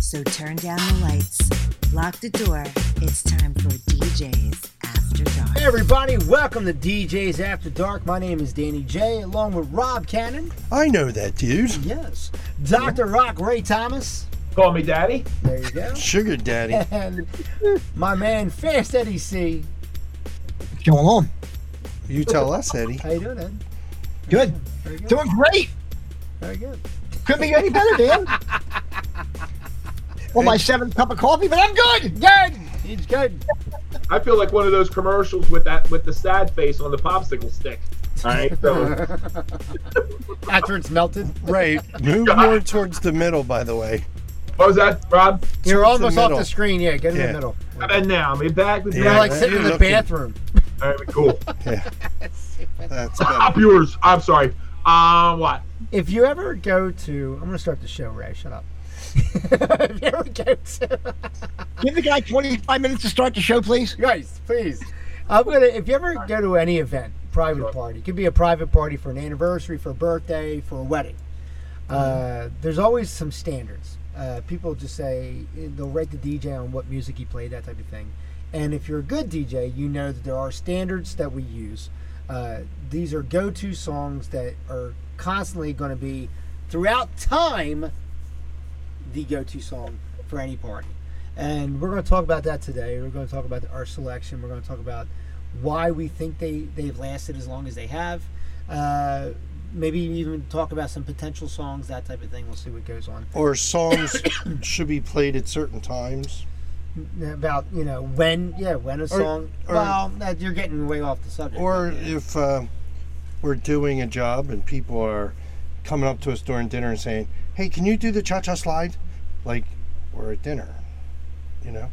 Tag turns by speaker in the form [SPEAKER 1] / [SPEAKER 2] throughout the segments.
[SPEAKER 1] So turn down the lights, lock the door. It's time for DJ's After Dark.
[SPEAKER 2] Hey everybody, welcome to DJ's After Dark. My name is Danny J, along with Rob Cannon.
[SPEAKER 3] I know that dude.
[SPEAKER 2] Yes. Dr. Rock Ray Thomas.
[SPEAKER 4] Call me daddy.
[SPEAKER 2] There you go.
[SPEAKER 3] Sugar daddy.
[SPEAKER 2] And my man Fast Eddie C.
[SPEAKER 5] What's going on?
[SPEAKER 3] You tell us, Eddie.
[SPEAKER 2] How you doing, Ed?
[SPEAKER 5] Good.
[SPEAKER 2] Very good.
[SPEAKER 5] Doing great.
[SPEAKER 2] Very good.
[SPEAKER 5] Couldn't be any better, Dan. Well, my seventh cup of coffee, but I'm good. Good.
[SPEAKER 2] He's good.
[SPEAKER 4] I feel like one of those commercials with that with the sad face on the popsicle stick. All right, so
[SPEAKER 2] After it's melted.
[SPEAKER 3] Right. Move more towards the middle, by the way.
[SPEAKER 4] what was that, Rob?
[SPEAKER 2] You're
[SPEAKER 3] Towards the
[SPEAKER 2] almost off
[SPEAKER 3] middle.
[SPEAKER 2] the screen, yeah. Get in
[SPEAKER 3] Yeah.
[SPEAKER 2] the middle.
[SPEAKER 4] How about now? I'm back with
[SPEAKER 3] Yeah,
[SPEAKER 2] You're like
[SPEAKER 3] right.
[SPEAKER 2] sitting in the
[SPEAKER 3] You're looking.
[SPEAKER 2] bathroom.
[SPEAKER 4] All right, cool.
[SPEAKER 3] That's
[SPEAKER 4] Stop
[SPEAKER 3] better.
[SPEAKER 4] yours. I'm sorry. Um, what?
[SPEAKER 2] If you ever go to I'm gonna start the show, Ray, shut up. if you ever go to
[SPEAKER 5] Give the guy 25 minutes to start the show, please.
[SPEAKER 2] guys, please. I'm gonna. If you ever go to any event, private party, it could be a private party for an anniversary, for a birthday, for a wedding. Uh, there's always some standards. Uh, people just say they'll rate the DJ on what music he played, that type of thing. And if you're a good DJ, you know that there are standards that we use. Uh, these are go-to songs that are constantly going to be throughout time the go-to song for any party. And we're going to talk about that today. We're going to talk about our selection. We're going to talk about why we think they they've lasted as long as they have. Uh, maybe even talk about some potential songs, that type of thing. We'll see what goes on
[SPEAKER 3] Or songs should be played at certain times.
[SPEAKER 2] about you know when yeah when a song.
[SPEAKER 3] or-
[SPEAKER 2] well, that- you're getting way off the subject.
[SPEAKER 3] Or
[SPEAKER 2] Yeah.
[SPEAKER 3] if uh, we're doing a job and people are coming up to us during dinner and saying, hey, can you do the cha cha slide? Like, we're at dinner. You know?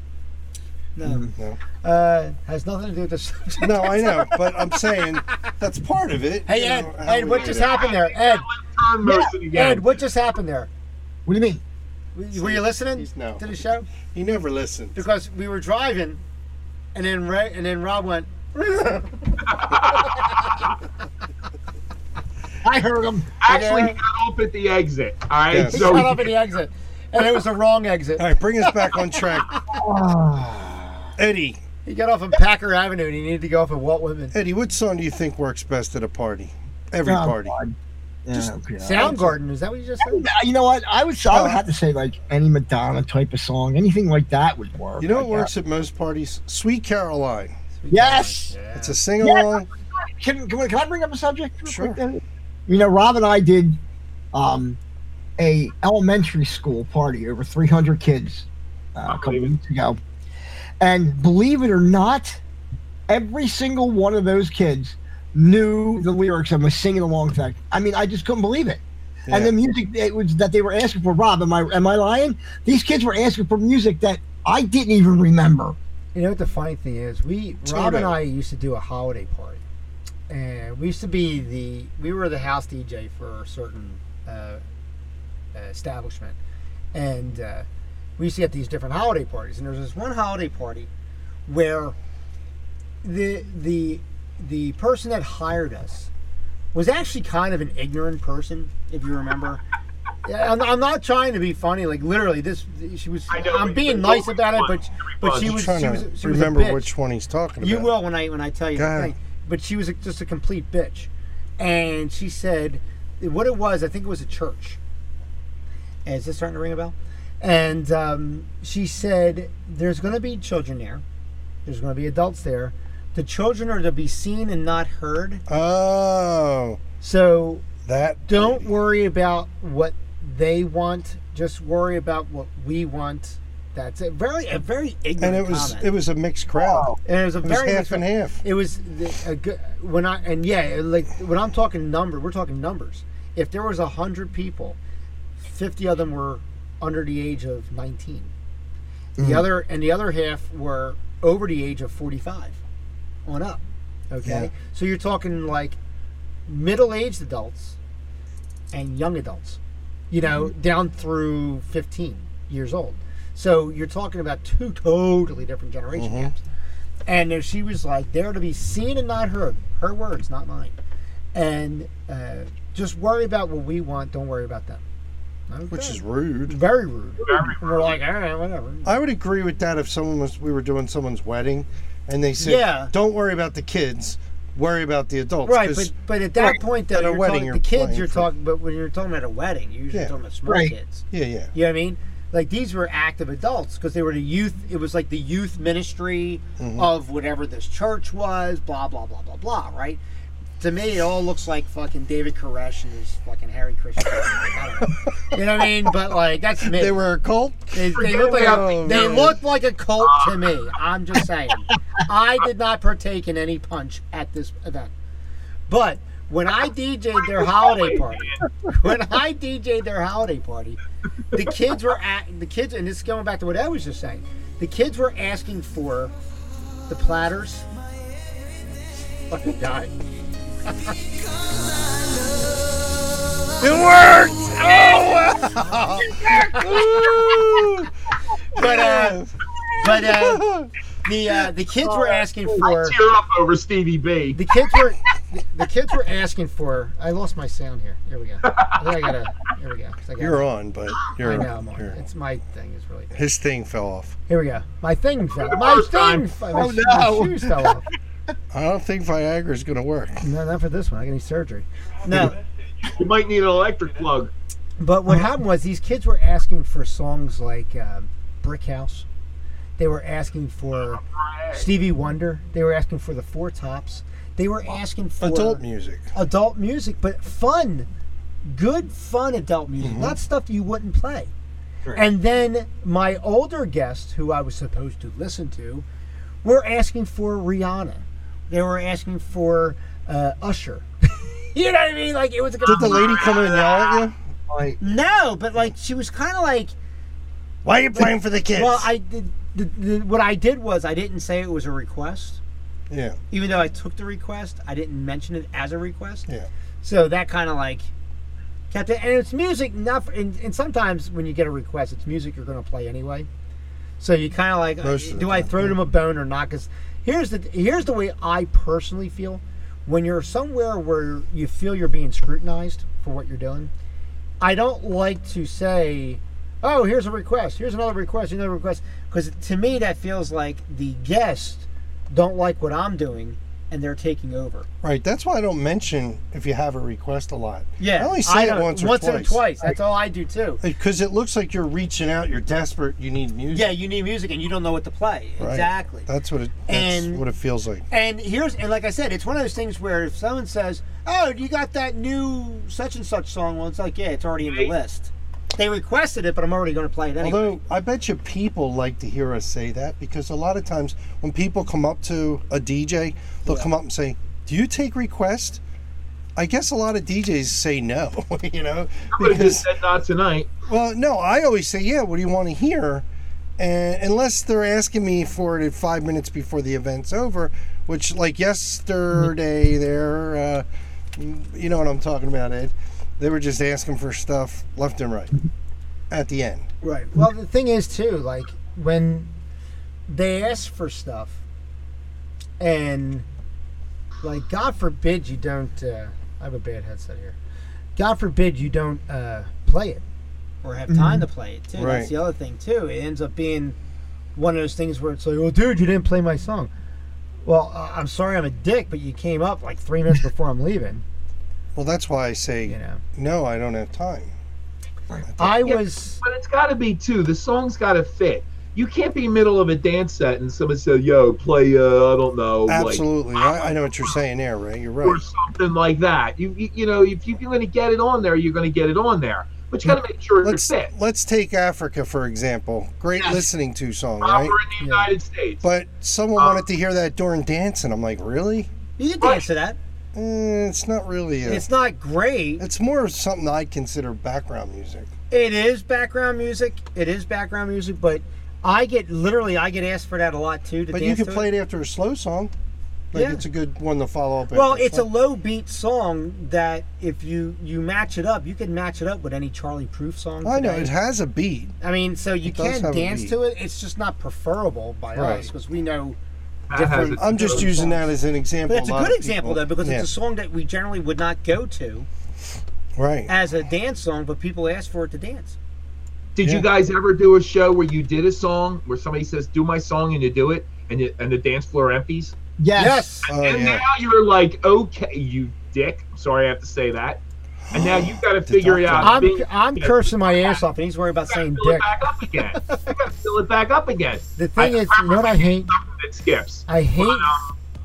[SPEAKER 2] no,
[SPEAKER 3] No.
[SPEAKER 2] uh, has nothing to do with the subject.
[SPEAKER 3] No, I know. But I'm saying that's part of it.
[SPEAKER 2] Hey
[SPEAKER 3] you
[SPEAKER 2] Ed,
[SPEAKER 3] know, how
[SPEAKER 2] Ed,
[SPEAKER 3] we
[SPEAKER 2] what
[SPEAKER 3] do
[SPEAKER 2] just
[SPEAKER 3] that.
[SPEAKER 2] happened there? Ed,
[SPEAKER 4] Time motion again.
[SPEAKER 2] Ed, what just happened there?
[SPEAKER 5] What do you mean?
[SPEAKER 2] Were were you listening
[SPEAKER 3] He's- no.
[SPEAKER 2] to the show?
[SPEAKER 3] He never listened.
[SPEAKER 2] because we were driving, and then Ray, and then Rob went.
[SPEAKER 5] I heard him.
[SPEAKER 4] Actually, he got off at the exit. All right,
[SPEAKER 3] Yes.
[SPEAKER 2] He
[SPEAKER 4] so
[SPEAKER 2] shut up at the exit, and it was the wrong exit.
[SPEAKER 3] All right, bring us back on track. Ah. Eddie,
[SPEAKER 2] He got off of Packer Avenue, and he needed to go off of Walt Whitman.
[SPEAKER 3] Eddie, what song do you think works best at a party? Every
[SPEAKER 2] Um,
[SPEAKER 5] Oh,
[SPEAKER 3] party.
[SPEAKER 5] God. Yeah, okay.
[SPEAKER 2] Soundgarden, is that what you just said?
[SPEAKER 5] You know what? I would.
[SPEAKER 3] Uh.
[SPEAKER 5] I would have to say like any Madonna type of song, anything like that would work.
[SPEAKER 3] You know
[SPEAKER 5] like uh,
[SPEAKER 3] what works at most parties? Sweet Caroline.
[SPEAKER 5] Yes.
[SPEAKER 2] Yeah.
[SPEAKER 3] It's a sing along.
[SPEAKER 5] that. Can, can, can I bring up a subject? real
[SPEAKER 3] Sure.
[SPEAKER 5] quick, Danny? You know, Rob and I did um, a elementary school party over 300 kids uh, a couple
[SPEAKER 4] Unbelievable.
[SPEAKER 5] weeks ago, and believe it or not, every single one of those kids knew the lyrics and was singing along. To that. I mean, I just couldn't believe it. And the music it was that they were asking for, Rob, am I am I lying? These kids were asking for music that I didn't even remember.
[SPEAKER 2] You know what the funny thing is? We Rob
[SPEAKER 3] Toto.
[SPEAKER 2] and I used to do a holiday party, and we used to be the we were the house DJ for a certain uh, establishment, and uh, we used to get these different holiday parties. And there was this one holiday party where the the the person that hired us was actually kind of an ignorant person, if you remember. Yeah, I'm, I'm not trying to be funny. Like literally, this she was.
[SPEAKER 4] I know
[SPEAKER 2] I'm
[SPEAKER 4] what
[SPEAKER 2] being
[SPEAKER 4] you're-
[SPEAKER 2] nice
[SPEAKER 4] don't
[SPEAKER 2] about it,
[SPEAKER 4] be
[SPEAKER 2] but
[SPEAKER 4] funny.
[SPEAKER 2] but
[SPEAKER 4] Don't be
[SPEAKER 2] she
[SPEAKER 4] funny.
[SPEAKER 2] was.
[SPEAKER 3] trying
[SPEAKER 2] She
[SPEAKER 3] to
[SPEAKER 2] was, she was a
[SPEAKER 3] remember
[SPEAKER 2] bitch.
[SPEAKER 3] which one he's talking about.
[SPEAKER 2] You will when I when I tell you
[SPEAKER 3] Go
[SPEAKER 2] the
[SPEAKER 3] ahead.
[SPEAKER 2] thing. But she was a, just a complete bitch, and she said what it was. I think it was a church. Is this starting to ring a bell? And um, she said, "There's going to be children there. There's going to be adults there. The children are to be seen and not heard.
[SPEAKER 3] Oh,
[SPEAKER 2] So
[SPEAKER 3] that.
[SPEAKER 2] don't
[SPEAKER 3] lady.
[SPEAKER 2] worry about what they want. Just worry about what we want." That's it. Very a very ignorant
[SPEAKER 3] And it was
[SPEAKER 2] comment.
[SPEAKER 3] it was a mixed crowd.
[SPEAKER 2] And it was a
[SPEAKER 3] It was
[SPEAKER 2] very
[SPEAKER 3] half and half.
[SPEAKER 2] It was the- a good when I and yeah, it like when I'm talking number, we're talking numbers. If there was a hundred people, fifty of them were under the age of nineteen. The
[SPEAKER 3] Hmm.
[SPEAKER 2] other and the other half were over the age of forty-five, on up. Okay,
[SPEAKER 3] Yeah.
[SPEAKER 2] so you're talking like middle-aged adults and young adults, you know,
[SPEAKER 3] Hmm.
[SPEAKER 2] down through fifteen years old. So you're talking about two totally different generation
[SPEAKER 3] Mm-hmm.
[SPEAKER 2] gaps. And then she was like, "There to be seen and not heard." Her words, not mine. And uh, just worry about what we want. Don't worry about them.
[SPEAKER 3] which is
[SPEAKER 2] Okay.
[SPEAKER 3] rude.
[SPEAKER 2] very rude.
[SPEAKER 4] Very
[SPEAKER 2] And we're like, all right, whatever.
[SPEAKER 3] I would agree with that if someone was we were doing someone's wedding, and they said,
[SPEAKER 2] Yeah.
[SPEAKER 3] "Don't worry about the kids, worry about the adults."
[SPEAKER 2] Right,
[SPEAKER 3] 'cause-
[SPEAKER 2] but but at that
[SPEAKER 3] Right,
[SPEAKER 2] point,
[SPEAKER 3] at
[SPEAKER 2] though,
[SPEAKER 3] a
[SPEAKER 2] you're
[SPEAKER 3] wedding,
[SPEAKER 2] talking
[SPEAKER 3] you're
[SPEAKER 2] the kids.
[SPEAKER 3] playing
[SPEAKER 2] You're
[SPEAKER 3] for-
[SPEAKER 2] talking, but when you're talking at a wedding, you're usually
[SPEAKER 3] Yeah.
[SPEAKER 2] talking about small
[SPEAKER 5] Right.
[SPEAKER 2] kids.
[SPEAKER 3] yeah, yeah,
[SPEAKER 2] You know what I mean? Like these were active adults because they were the youth. It was like the youth ministry
[SPEAKER 3] Mm-hmm.
[SPEAKER 2] of whatever this church was. Blah blah blah blah blah. Right? To me, it all looks like fucking David Koresh and his fucking Harry Christian. Like, I don't know. You know what I mean? But like that's me.
[SPEAKER 3] they were a cult.
[SPEAKER 2] They, they
[SPEAKER 4] Forget
[SPEAKER 2] looked like a,
[SPEAKER 4] about
[SPEAKER 2] they
[SPEAKER 3] the-
[SPEAKER 2] looked like a cult to me. I'm just saying. I did not partake in any punch at this event. But when I DJ'd their holiday party, when I DJ'd their holiday party, the kids were at the kids, and this is going back to what I was just saying. The kids were asking for the platters. Fucking died.
[SPEAKER 3] It worked! Oh wow!
[SPEAKER 2] But uh, but uh, the uh, the kids were asking for.
[SPEAKER 4] I tear up over Stevie B.
[SPEAKER 2] The kids were the, the kids were asking for. I lost my sound here. Here we go. I think I gotta. Here we go. 'cause I got-
[SPEAKER 3] you're on, but you're,
[SPEAKER 2] I know, Mark.
[SPEAKER 3] you're-
[SPEAKER 2] It's my thing. Is really. Bad.
[SPEAKER 3] his thing fell off.
[SPEAKER 2] Here we go. My thing fell. My
[SPEAKER 4] First time.
[SPEAKER 2] thing. fell- my
[SPEAKER 5] Oh,
[SPEAKER 2] shoes-
[SPEAKER 5] no.
[SPEAKER 2] My shoes fell off.
[SPEAKER 3] I don't think Viagra's gonna work.
[SPEAKER 2] No, not for this one. I got need surgery. No,
[SPEAKER 4] You might need an electric plug.
[SPEAKER 2] but what happened was these kids were asking for songs like um, Brick House. They were asking for Stevie Wonder. They were asking for the Four Tops. They were asking for
[SPEAKER 3] Adult music.
[SPEAKER 2] adult music, but fun, good fun adult music,
[SPEAKER 3] Mm-hmm.
[SPEAKER 2] not stuff you wouldn't play. And then my older guests, who I was supposed to listen to, were asking for Rihanna. They were asking for uh, Usher. you know what I mean? Like it was a
[SPEAKER 3] Did the lady come in and yell at you?
[SPEAKER 5] Like,
[SPEAKER 2] no, but like she was kind of like
[SPEAKER 3] Why are you playing for the kids?
[SPEAKER 2] well, I did. The, the, what I did was I didn't say it was a request,
[SPEAKER 3] yeah,
[SPEAKER 2] even though I took the request. I didn't mention it as a request.
[SPEAKER 3] yeah.
[SPEAKER 2] So that kind of like kept it, and it's music. Not for, and, and sometimes when you get a request, it's music you're going to play anyway. So you kind of like,
[SPEAKER 3] Most of the
[SPEAKER 2] do I
[SPEAKER 3] time,
[SPEAKER 2] throw them a bone or not? Because here's the here's the way I personally feel when you're somewhere where you feel you're being scrutinized for what you're doing. I don't like to say, "Oh, here's a request. Here's another request. Here's another request," because to me that feels like the guests don't like what I'm doing and they're taking over.
[SPEAKER 3] Right. That's why I don't mention if you have a request a lot.
[SPEAKER 2] Yeah,
[SPEAKER 3] I only say it
[SPEAKER 2] don't-
[SPEAKER 3] once or twice.
[SPEAKER 2] and twice. That's all I do too.
[SPEAKER 3] Because it looks like you're reaching out. You're desperate. You need music.
[SPEAKER 2] Yeah, you need music and you don't know what to play.
[SPEAKER 3] Right.
[SPEAKER 2] Exactly.
[SPEAKER 3] That's what it. That's
[SPEAKER 2] And-
[SPEAKER 3] what it feels like.
[SPEAKER 2] And here's and like I said, it's one of those things where if someone says, "Oh, you got that new such and such song," well, it's like, yeah, it's already in the list. They requested it, but I'm already going to play it anyway.
[SPEAKER 3] Although I bet you people like to hear us say that because a lot of times when people come up to a DJ, they'll come up and say, "Do you take requests?" I guess a lot of DJs say no. you know,
[SPEAKER 4] Could have just said not tonight.
[SPEAKER 3] Well, no, I always say, yeah, what do you want to hear? And unless they're asking me for it at five minutes before the event's over, which, like yesterday, there, uh, you know what I'm talking about, Ed. They were just asking for stuff left and right at the end.
[SPEAKER 2] Right. Well, the thing is too, like when they ask for stuff, and like God forbid you don't. Uh, I have a bad headset here. God forbid you don't uh, play it Mm-hmm. or have time to play it too.
[SPEAKER 3] Right.
[SPEAKER 2] That's the other thing too. It ends up being one of those things where it's like, "Oh, dude, you didn't play my song." Well, uh, I'm sorry, I'm a dick, but you came up like three minutes before I'm leaving.
[SPEAKER 3] Well, that's why I say,
[SPEAKER 2] You know,
[SPEAKER 3] no, I don't have time.
[SPEAKER 2] I was.
[SPEAKER 4] But it's got to be too. The song's got to fit. You can't be middle of a dance set and someone says, "Yo, play," uh, I don't know,
[SPEAKER 3] Absolutely. I, I know what you're saying there, Ray. You're
[SPEAKER 4] like, or
[SPEAKER 3] right.
[SPEAKER 4] something like that. You, you, you know, if you're going to get it on there, you're going to get it on there. But you got to make sure it
[SPEAKER 3] Let's,
[SPEAKER 4] fits.
[SPEAKER 3] let's take Africa, for example. Great listening to song,
[SPEAKER 4] Proper
[SPEAKER 3] right?
[SPEAKER 4] in the United States.
[SPEAKER 3] But someone
[SPEAKER 2] Uh,
[SPEAKER 3] wanted to hear that during dancing. I'm like, really?
[SPEAKER 2] You can dance to that.
[SPEAKER 3] Eh, it's not really a.
[SPEAKER 2] It's not great.
[SPEAKER 3] It's more of something I consider background music.
[SPEAKER 2] It is background music. It is background music, but I get literally I get asked for that a lot too. To
[SPEAKER 3] But you
[SPEAKER 2] dance
[SPEAKER 3] can
[SPEAKER 2] to
[SPEAKER 3] play
[SPEAKER 2] it.
[SPEAKER 3] it after a slow song. Like
[SPEAKER 2] Yeah.
[SPEAKER 3] it's a good one to follow up.
[SPEAKER 2] Well,
[SPEAKER 3] after
[SPEAKER 2] it's a
[SPEAKER 3] slow-
[SPEAKER 2] low beat song that if you you match it up, you can match it up with any Charlie Proof song.
[SPEAKER 3] I know
[SPEAKER 2] today.
[SPEAKER 3] it has a beat.
[SPEAKER 2] I mean, so you
[SPEAKER 3] it does
[SPEAKER 2] can
[SPEAKER 3] have a
[SPEAKER 2] dance
[SPEAKER 3] beat.
[SPEAKER 2] to it. It's just not preferable by
[SPEAKER 3] Right.
[SPEAKER 2] us because we know
[SPEAKER 4] That has
[SPEAKER 2] different.
[SPEAKER 4] its
[SPEAKER 3] I'm just
[SPEAKER 2] different
[SPEAKER 3] using that
[SPEAKER 2] songs.
[SPEAKER 3] as an example.
[SPEAKER 2] But it's a
[SPEAKER 3] lot
[SPEAKER 2] good
[SPEAKER 3] of
[SPEAKER 2] example
[SPEAKER 3] people-
[SPEAKER 2] though because
[SPEAKER 3] Yeah.
[SPEAKER 2] it's a song that we generally would not go to.
[SPEAKER 3] Right.
[SPEAKER 2] as a dance song, but people asked for it to dance.
[SPEAKER 4] Did
[SPEAKER 3] Yeah.
[SPEAKER 4] you guys ever do a show where you did a song where somebody says, "Do my song," and you do it, and you, and the dance floor empties?
[SPEAKER 5] Yes.
[SPEAKER 3] Oh,
[SPEAKER 4] and
[SPEAKER 3] yeah.
[SPEAKER 4] now you're like, "Okay, you dick." Sorry, I have to say that. And now you've got to figure it out.
[SPEAKER 2] I'm
[SPEAKER 4] Being-
[SPEAKER 2] I'm cursing my ass off, and he's worried about
[SPEAKER 4] I gotta
[SPEAKER 2] saying
[SPEAKER 4] fill it
[SPEAKER 2] dick.
[SPEAKER 4] back up again. I gotta fill it back up again.
[SPEAKER 2] The thing is, you know what I hate?
[SPEAKER 4] It skips.
[SPEAKER 2] I hate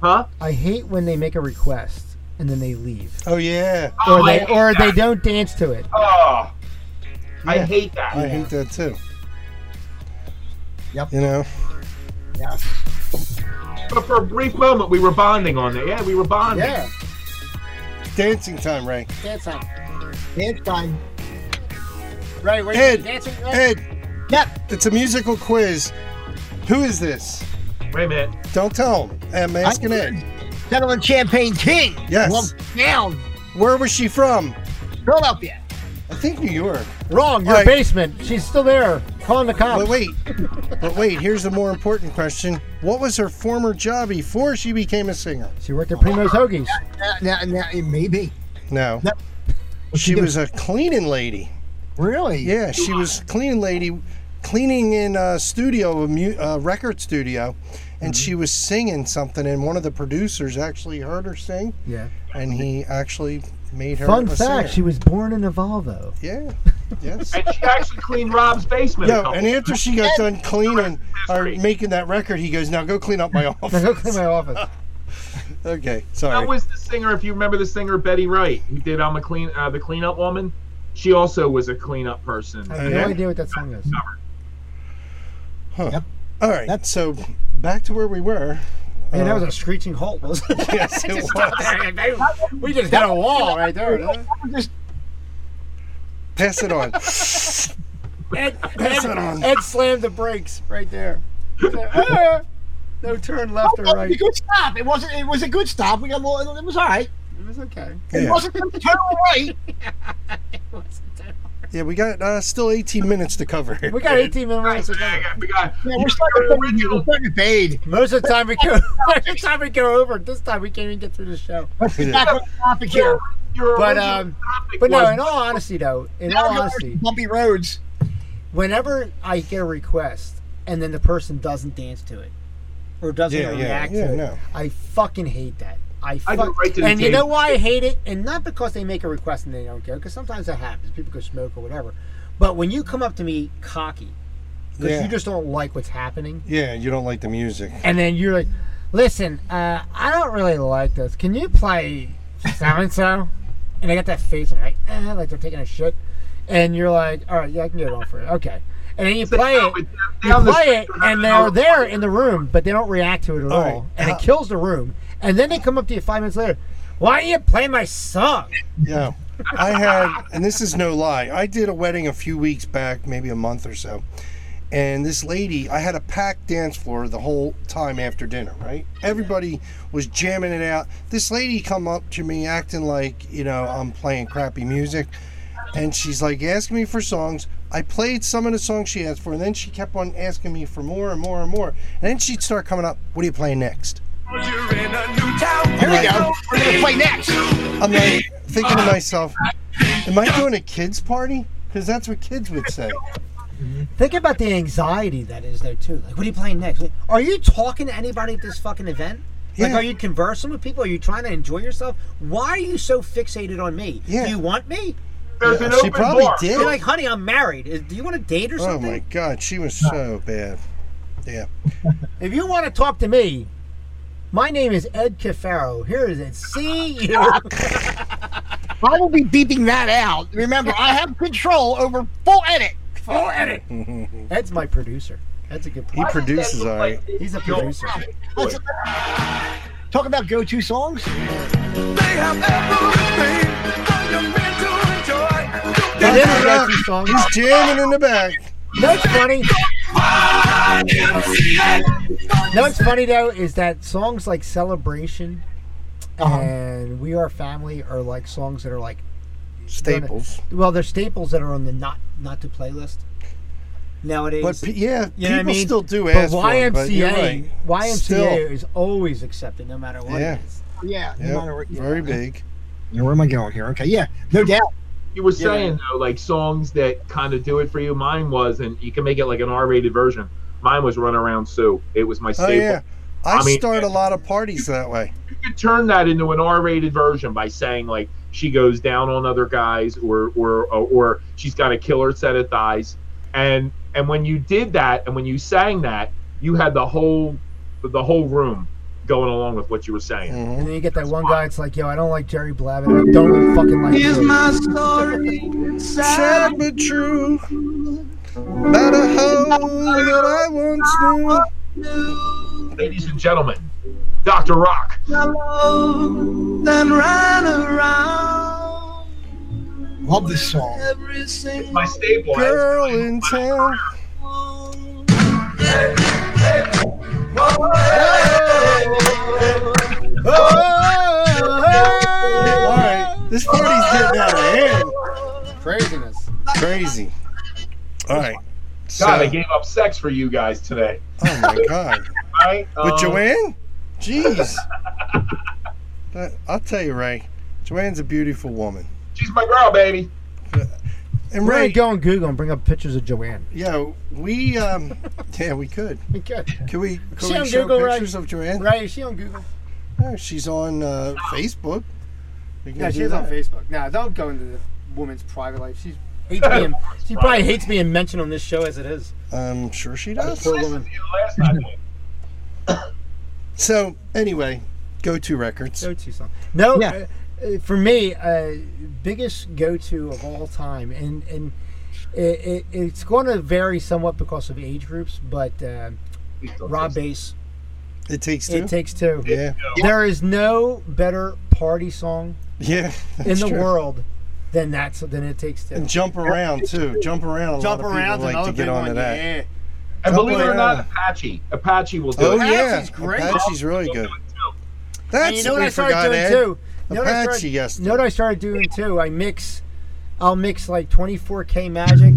[SPEAKER 4] Huh?
[SPEAKER 2] I hate when they make a request and then they leave,
[SPEAKER 3] Oh yeah.
[SPEAKER 2] or
[SPEAKER 4] Oh, I
[SPEAKER 2] they
[SPEAKER 4] hate
[SPEAKER 2] or they
[SPEAKER 4] that.
[SPEAKER 2] don't dance to it.
[SPEAKER 4] Oh, I
[SPEAKER 3] Yeah.
[SPEAKER 4] hate that.
[SPEAKER 3] I hate that too.
[SPEAKER 5] Yep.
[SPEAKER 3] You know.
[SPEAKER 5] Yeah.
[SPEAKER 4] But for a brief moment, we were bonding on that. Yeah, we were bonding.
[SPEAKER 2] Yeah,
[SPEAKER 3] Dancing time, Ray.
[SPEAKER 2] dance on.
[SPEAKER 5] Dance time.
[SPEAKER 2] Right, where
[SPEAKER 3] Ed,
[SPEAKER 2] dancing.
[SPEAKER 3] Ed,
[SPEAKER 5] Yep.
[SPEAKER 3] it's a musical quiz. Who is this?
[SPEAKER 4] Wait a minute.
[SPEAKER 3] Don't tell him. I'm asking Ed.
[SPEAKER 5] Gentleman Champagne King.
[SPEAKER 3] Yes.
[SPEAKER 5] Well, down.
[SPEAKER 3] Where was she from?
[SPEAKER 5] Philadelphia.
[SPEAKER 3] I think New York.
[SPEAKER 2] Wrong, your
[SPEAKER 3] Right.
[SPEAKER 2] basement. She's still there. Calling the
[SPEAKER 5] Oh.
[SPEAKER 2] cops.
[SPEAKER 3] But wait, but wait. Here's the more important question. What was her former job before she became a singer?
[SPEAKER 2] She worked at Primo's Hoagies.
[SPEAKER 5] Now, now, now, it may be.
[SPEAKER 3] No.
[SPEAKER 5] No.
[SPEAKER 3] She was a cleaning lady.
[SPEAKER 5] Really?
[SPEAKER 3] Yeah, she was cleaning lady, cleaning in a studio, a mu- a record studio, and
[SPEAKER 2] Mm-hmm.
[SPEAKER 3] she was singing something. And one of the producers actually heard her sing,
[SPEAKER 2] Yeah.
[SPEAKER 3] and he actually made her.
[SPEAKER 2] Fun
[SPEAKER 3] a
[SPEAKER 2] fact:
[SPEAKER 3] singer.
[SPEAKER 2] She was born in a Volvo.
[SPEAKER 3] Yeah. Yes.
[SPEAKER 4] And she actually cleaned Rob's basement. a
[SPEAKER 3] Yo,
[SPEAKER 4] couple
[SPEAKER 3] and after she got done cleaning or making that record, he goes, "Now go clean up my
[SPEAKER 2] Now
[SPEAKER 3] office."
[SPEAKER 2] go clean my office.
[SPEAKER 3] okay,
[SPEAKER 4] That
[SPEAKER 3] sorry.
[SPEAKER 4] was the singer, if you remember the singer Betty Wright, who did "I'm a Clean," uh, the cleanup woman. She also was a cleanup person.
[SPEAKER 2] I have
[SPEAKER 3] Okay.
[SPEAKER 2] no idea what that song is.
[SPEAKER 3] All right.
[SPEAKER 5] That's-
[SPEAKER 3] So back to where we were.
[SPEAKER 2] Man, that was a screeching halt, wasn't it?
[SPEAKER 3] Yes, it was.
[SPEAKER 2] we just hit a wall right there.
[SPEAKER 5] Just
[SPEAKER 3] Pass it on.
[SPEAKER 2] Ed,
[SPEAKER 3] Pass it on.
[SPEAKER 2] Ed slammed the brakes right there. He said, "Ah, no turn left or
[SPEAKER 5] oh, it was a
[SPEAKER 2] right.
[SPEAKER 5] good stop. It wasn't. It was a good stop. We got a little. It was all right.
[SPEAKER 2] It was okay.
[SPEAKER 5] It
[SPEAKER 3] Yeah.
[SPEAKER 5] wasn't the terrible right.
[SPEAKER 3] Yeah, we got uh, still 18 minutes to cover here.
[SPEAKER 2] We got 18 minutes to go.
[SPEAKER 4] We got
[SPEAKER 5] Yeah,
[SPEAKER 4] you
[SPEAKER 5] we're starting
[SPEAKER 4] were
[SPEAKER 5] to fade. We're
[SPEAKER 4] original.
[SPEAKER 5] starting to fade.
[SPEAKER 2] Most of the time we go, most of the time we go over. This time we can't even get through the show.
[SPEAKER 5] Let's get back on the topic here.
[SPEAKER 4] Your
[SPEAKER 2] But,
[SPEAKER 4] original
[SPEAKER 2] um,
[SPEAKER 4] topic
[SPEAKER 2] But no,
[SPEAKER 4] was-
[SPEAKER 2] in all honesty, though, in
[SPEAKER 5] Now
[SPEAKER 2] all
[SPEAKER 5] we're on
[SPEAKER 2] honesty,
[SPEAKER 5] bumpy roads.
[SPEAKER 2] whenever I get a request and then the person doesn't dance to it or doesn't
[SPEAKER 3] Yeah, yeah,
[SPEAKER 2] react
[SPEAKER 3] yeah,
[SPEAKER 2] to it,
[SPEAKER 3] no.
[SPEAKER 2] I fucking hate that. I,
[SPEAKER 4] I
[SPEAKER 2] fuck,
[SPEAKER 4] go right to the
[SPEAKER 2] and you know
[SPEAKER 4] table.
[SPEAKER 2] why I hate it? And not because they make a request and they don't care, because sometimes that happens. People go smoke or whatever. But when you come up to me cocky, because
[SPEAKER 3] Yeah.
[SPEAKER 2] you just don't like what's happening,
[SPEAKER 3] Yeah, you don't like the music.
[SPEAKER 2] and then you're like, "Listen, uh, I don't really like this. Can you play so and so?" And I got that face, and I'm like, eh, like they're taking a shit, and you're like, "All right, yeah, I can get it on for you, okay." And then you play
[SPEAKER 4] down
[SPEAKER 2] it,
[SPEAKER 4] with-
[SPEAKER 2] you
[SPEAKER 4] down the
[SPEAKER 2] play
[SPEAKER 4] street,
[SPEAKER 2] it, and
[SPEAKER 4] down
[SPEAKER 2] they're
[SPEAKER 4] the-
[SPEAKER 2] there in the room, but they don't react to it at all,
[SPEAKER 3] right.
[SPEAKER 2] and it kills the room. And then they come up to you five minutes later. Why are you playing my song?
[SPEAKER 3] Yeah. I had, and this is no lie, I did a wedding a few weeks back, maybe a month or so. And this lady, I had a packed dance floor the whole time after dinner, right? Everybody was jamming it out. This lady come up to me acting like, you know, I'm playing crappy music. And she's like asking me for songs. I played some of the songs she asked for, and then she kept on asking me for more and more and more. And then she'd start coming up, what are you playing next?
[SPEAKER 5] Here we go. We're gonna play next.
[SPEAKER 3] I'm like thinking to myself, am I doing a kids party? Because that's what kids would say.
[SPEAKER 2] Think about the anxiety that is there too. Like, what are you playing next? Like, Are you talking to anybody at this fucking event? Like,
[SPEAKER 3] Yeah.
[SPEAKER 2] are you conversing with people? Are you trying to enjoy yourself? Why are you so fixated on me?
[SPEAKER 3] Yeah.
[SPEAKER 2] Do you want me?
[SPEAKER 4] There's an
[SPEAKER 3] She
[SPEAKER 4] open
[SPEAKER 3] probably
[SPEAKER 4] bar.
[SPEAKER 3] did.
[SPEAKER 2] You're like, honey, I'm married. Is- Do you want to date or
[SPEAKER 3] Oh
[SPEAKER 2] something?
[SPEAKER 3] my God, she was so bad. Yeah.
[SPEAKER 2] If you want to talk to me, my name is Ed Cafaro. Here is it. See you.
[SPEAKER 5] I will be beeping that out. Remember, I have control over full edit.
[SPEAKER 2] Full edit. Ed's my producer. That's a good
[SPEAKER 3] He
[SPEAKER 2] point.
[SPEAKER 3] produces all right.
[SPEAKER 2] He's a producer.
[SPEAKER 5] Let's- talk about go-to songs.
[SPEAKER 2] That is a
[SPEAKER 3] Yeah.
[SPEAKER 2] go-to song.
[SPEAKER 3] He's jamming in the back.
[SPEAKER 2] That's funny. No, what's funny though is that songs like "Celebration"
[SPEAKER 3] Uh-huh.
[SPEAKER 2] and "We Are Family" are like songs that are like
[SPEAKER 3] Staples.
[SPEAKER 2] well, they're staples that are on the not not to playlist nowadays.
[SPEAKER 3] But pe- yeah,
[SPEAKER 2] You know what I
[SPEAKER 3] people
[SPEAKER 2] mean?
[SPEAKER 3] still do
[SPEAKER 2] But
[SPEAKER 3] ask for
[SPEAKER 2] YMCA,
[SPEAKER 3] it. But you're right.
[SPEAKER 2] YMCA
[SPEAKER 3] Still,
[SPEAKER 2] is always accepted, no matter what
[SPEAKER 3] Yeah.
[SPEAKER 2] it is.
[SPEAKER 5] Yeah, no
[SPEAKER 3] yeah,
[SPEAKER 5] matter what-
[SPEAKER 3] very big.
[SPEAKER 5] Yeah, where am I going here? Okay, yeah, no doubt.
[SPEAKER 4] you were saying though, like songs that kind of do it for you. Mine was, and you can make it like an R-rated version. Mine was "Run Around Sue." It was my
[SPEAKER 3] Oh
[SPEAKER 4] staple.
[SPEAKER 3] yeah, I,
[SPEAKER 4] I mean-
[SPEAKER 3] start a lot of parties that way.
[SPEAKER 4] You could turn that into an R-rated version by saying like she goes down on other guys, or or or, or she's got a killer set of thighs, and and when you did that, and when you sang that, you had the whole the whole room going along with what you were saying.
[SPEAKER 3] Mhm.
[SPEAKER 2] And then you get that one guy. It's like, yo, I don't like Jerry Blavin. I don't fucking like.
[SPEAKER 6] Here's
[SPEAKER 2] him.
[SPEAKER 6] my story.
[SPEAKER 3] Sad but true. About a hoe that I once knew. Mm.
[SPEAKER 4] Ladies and gentlemen, Dr. Rock.
[SPEAKER 6] Hello, then ran around
[SPEAKER 5] Love this song.
[SPEAKER 6] every
[SPEAKER 4] My
[SPEAKER 6] single
[SPEAKER 4] staple.
[SPEAKER 3] Girl in town. All right, this party's getting out of hand.
[SPEAKER 2] Craziness.
[SPEAKER 3] Crazy. All right. So,
[SPEAKER 4] God, I gave up sex for you guys today.
[SPEAKER 3] oh my god.
[SPEAKER 4] Right?
[SPEAKER 3] With
[SPEAKER 4] Um,
[SPEAKER 3] Joanne? Jeez. That- I'll tell you, Ray. Joanne's a beautiful woman. She's
[SPEAKER 4] She's my girl, baby.
[SPEAKER 3] And
[SPEAKER 2] We're gonna
[SPEAKER 3] Ray,
[SPEAKER 2] go on Google and bring up pictures of Joanne.
[SPEAKER 3] yeah, we um, yeah, we could.
[SPEAKER 2] We could.
[SPEAKER 3] Can we? Can
[SPEAKER 2] She
[SPEAKER 3] we
[SPEAKER 2] on
[SPEAKER 3] show
[SPEAKER 2] Google, Ray?
[SPEAKER 3] pictures of Joanne?
[SPEAKER 2] Right? Is she on Google?
[SPEAKER 3] No, she's on uh, Facebook. We can
[SPEAKER 2] Yeah,
[SPEAKER 3] do
[SPEAKER 2] she's on
[SPEAKER 3] that.
[SPEAKER 2] Facebook. Now don't go into the woman's private life. She's hates being, she probably hates being mentioned on this show as it is.
[SPEAKER 3] I'm sure she does.
[SPEAKER 2] Poor woman.
[SPEAKER 4] You know, last night,
[SPEAKER 3] So anyway, go-to records.
[SPEAKER 2] Go to song. No,
[SPEAKER 5] Yeah.
[SPEAKER 2] uh, uh, for me, uh, biggest go to of all time, and and it, it, it's going to vary somewhat because of age groups, but uh,
[SPEAKER 4] we still
[SPEAKER 2] Rob
[SPEAKER 4] taste
[SPEAKER 2] Bass,
[SPEAKER 3] It takes two.
[SPEAKER 2] it takes two.
[SPEAKER 3] yeah,
[SPEAKER 2] There is no better party song
[SPEAKER 3] yeah.
[SPEAKER 2] in
[SPEAKER 3] that's
[SPEAKER 2] the
[SPEAKER 3] true.
[SPEAKER 2] world than that's than it takes two.
[SPEAKER 3] And jump around too. Jump around. A lot of people like to get onto that.
[SPEAKER 4] it. And believe it or
[SPEAKER 3] Something,
[SPEAKER 4] not,
[SPEAKER 3] uh,
[SPEAKER 4] Apache. Apache will do
[SPEAKER 3] Oh
[SPEAKER 4] it.
[SPEAKER 3] yeah,
[SPEAKER 2] Apache's great.
[SPEAKER 3] Apache's really good. That's
[SPEAKER 2] And you know what
[SPEAKER 3] what we
[SPEAKER 2] I eh? started
[SPEAKER 3] forgot,
[SPEAKER 2] doing
[SPEAKER 3] Ed.
[SPEAKER 2] too. You know what I
[SPEAKER 3] Apache
[SPEAKER 2] started-
[SPEAKER 3] yesterday.
[SPEAKER 2] You know what I started doing too? I mix, I'll mix like 24K Magic.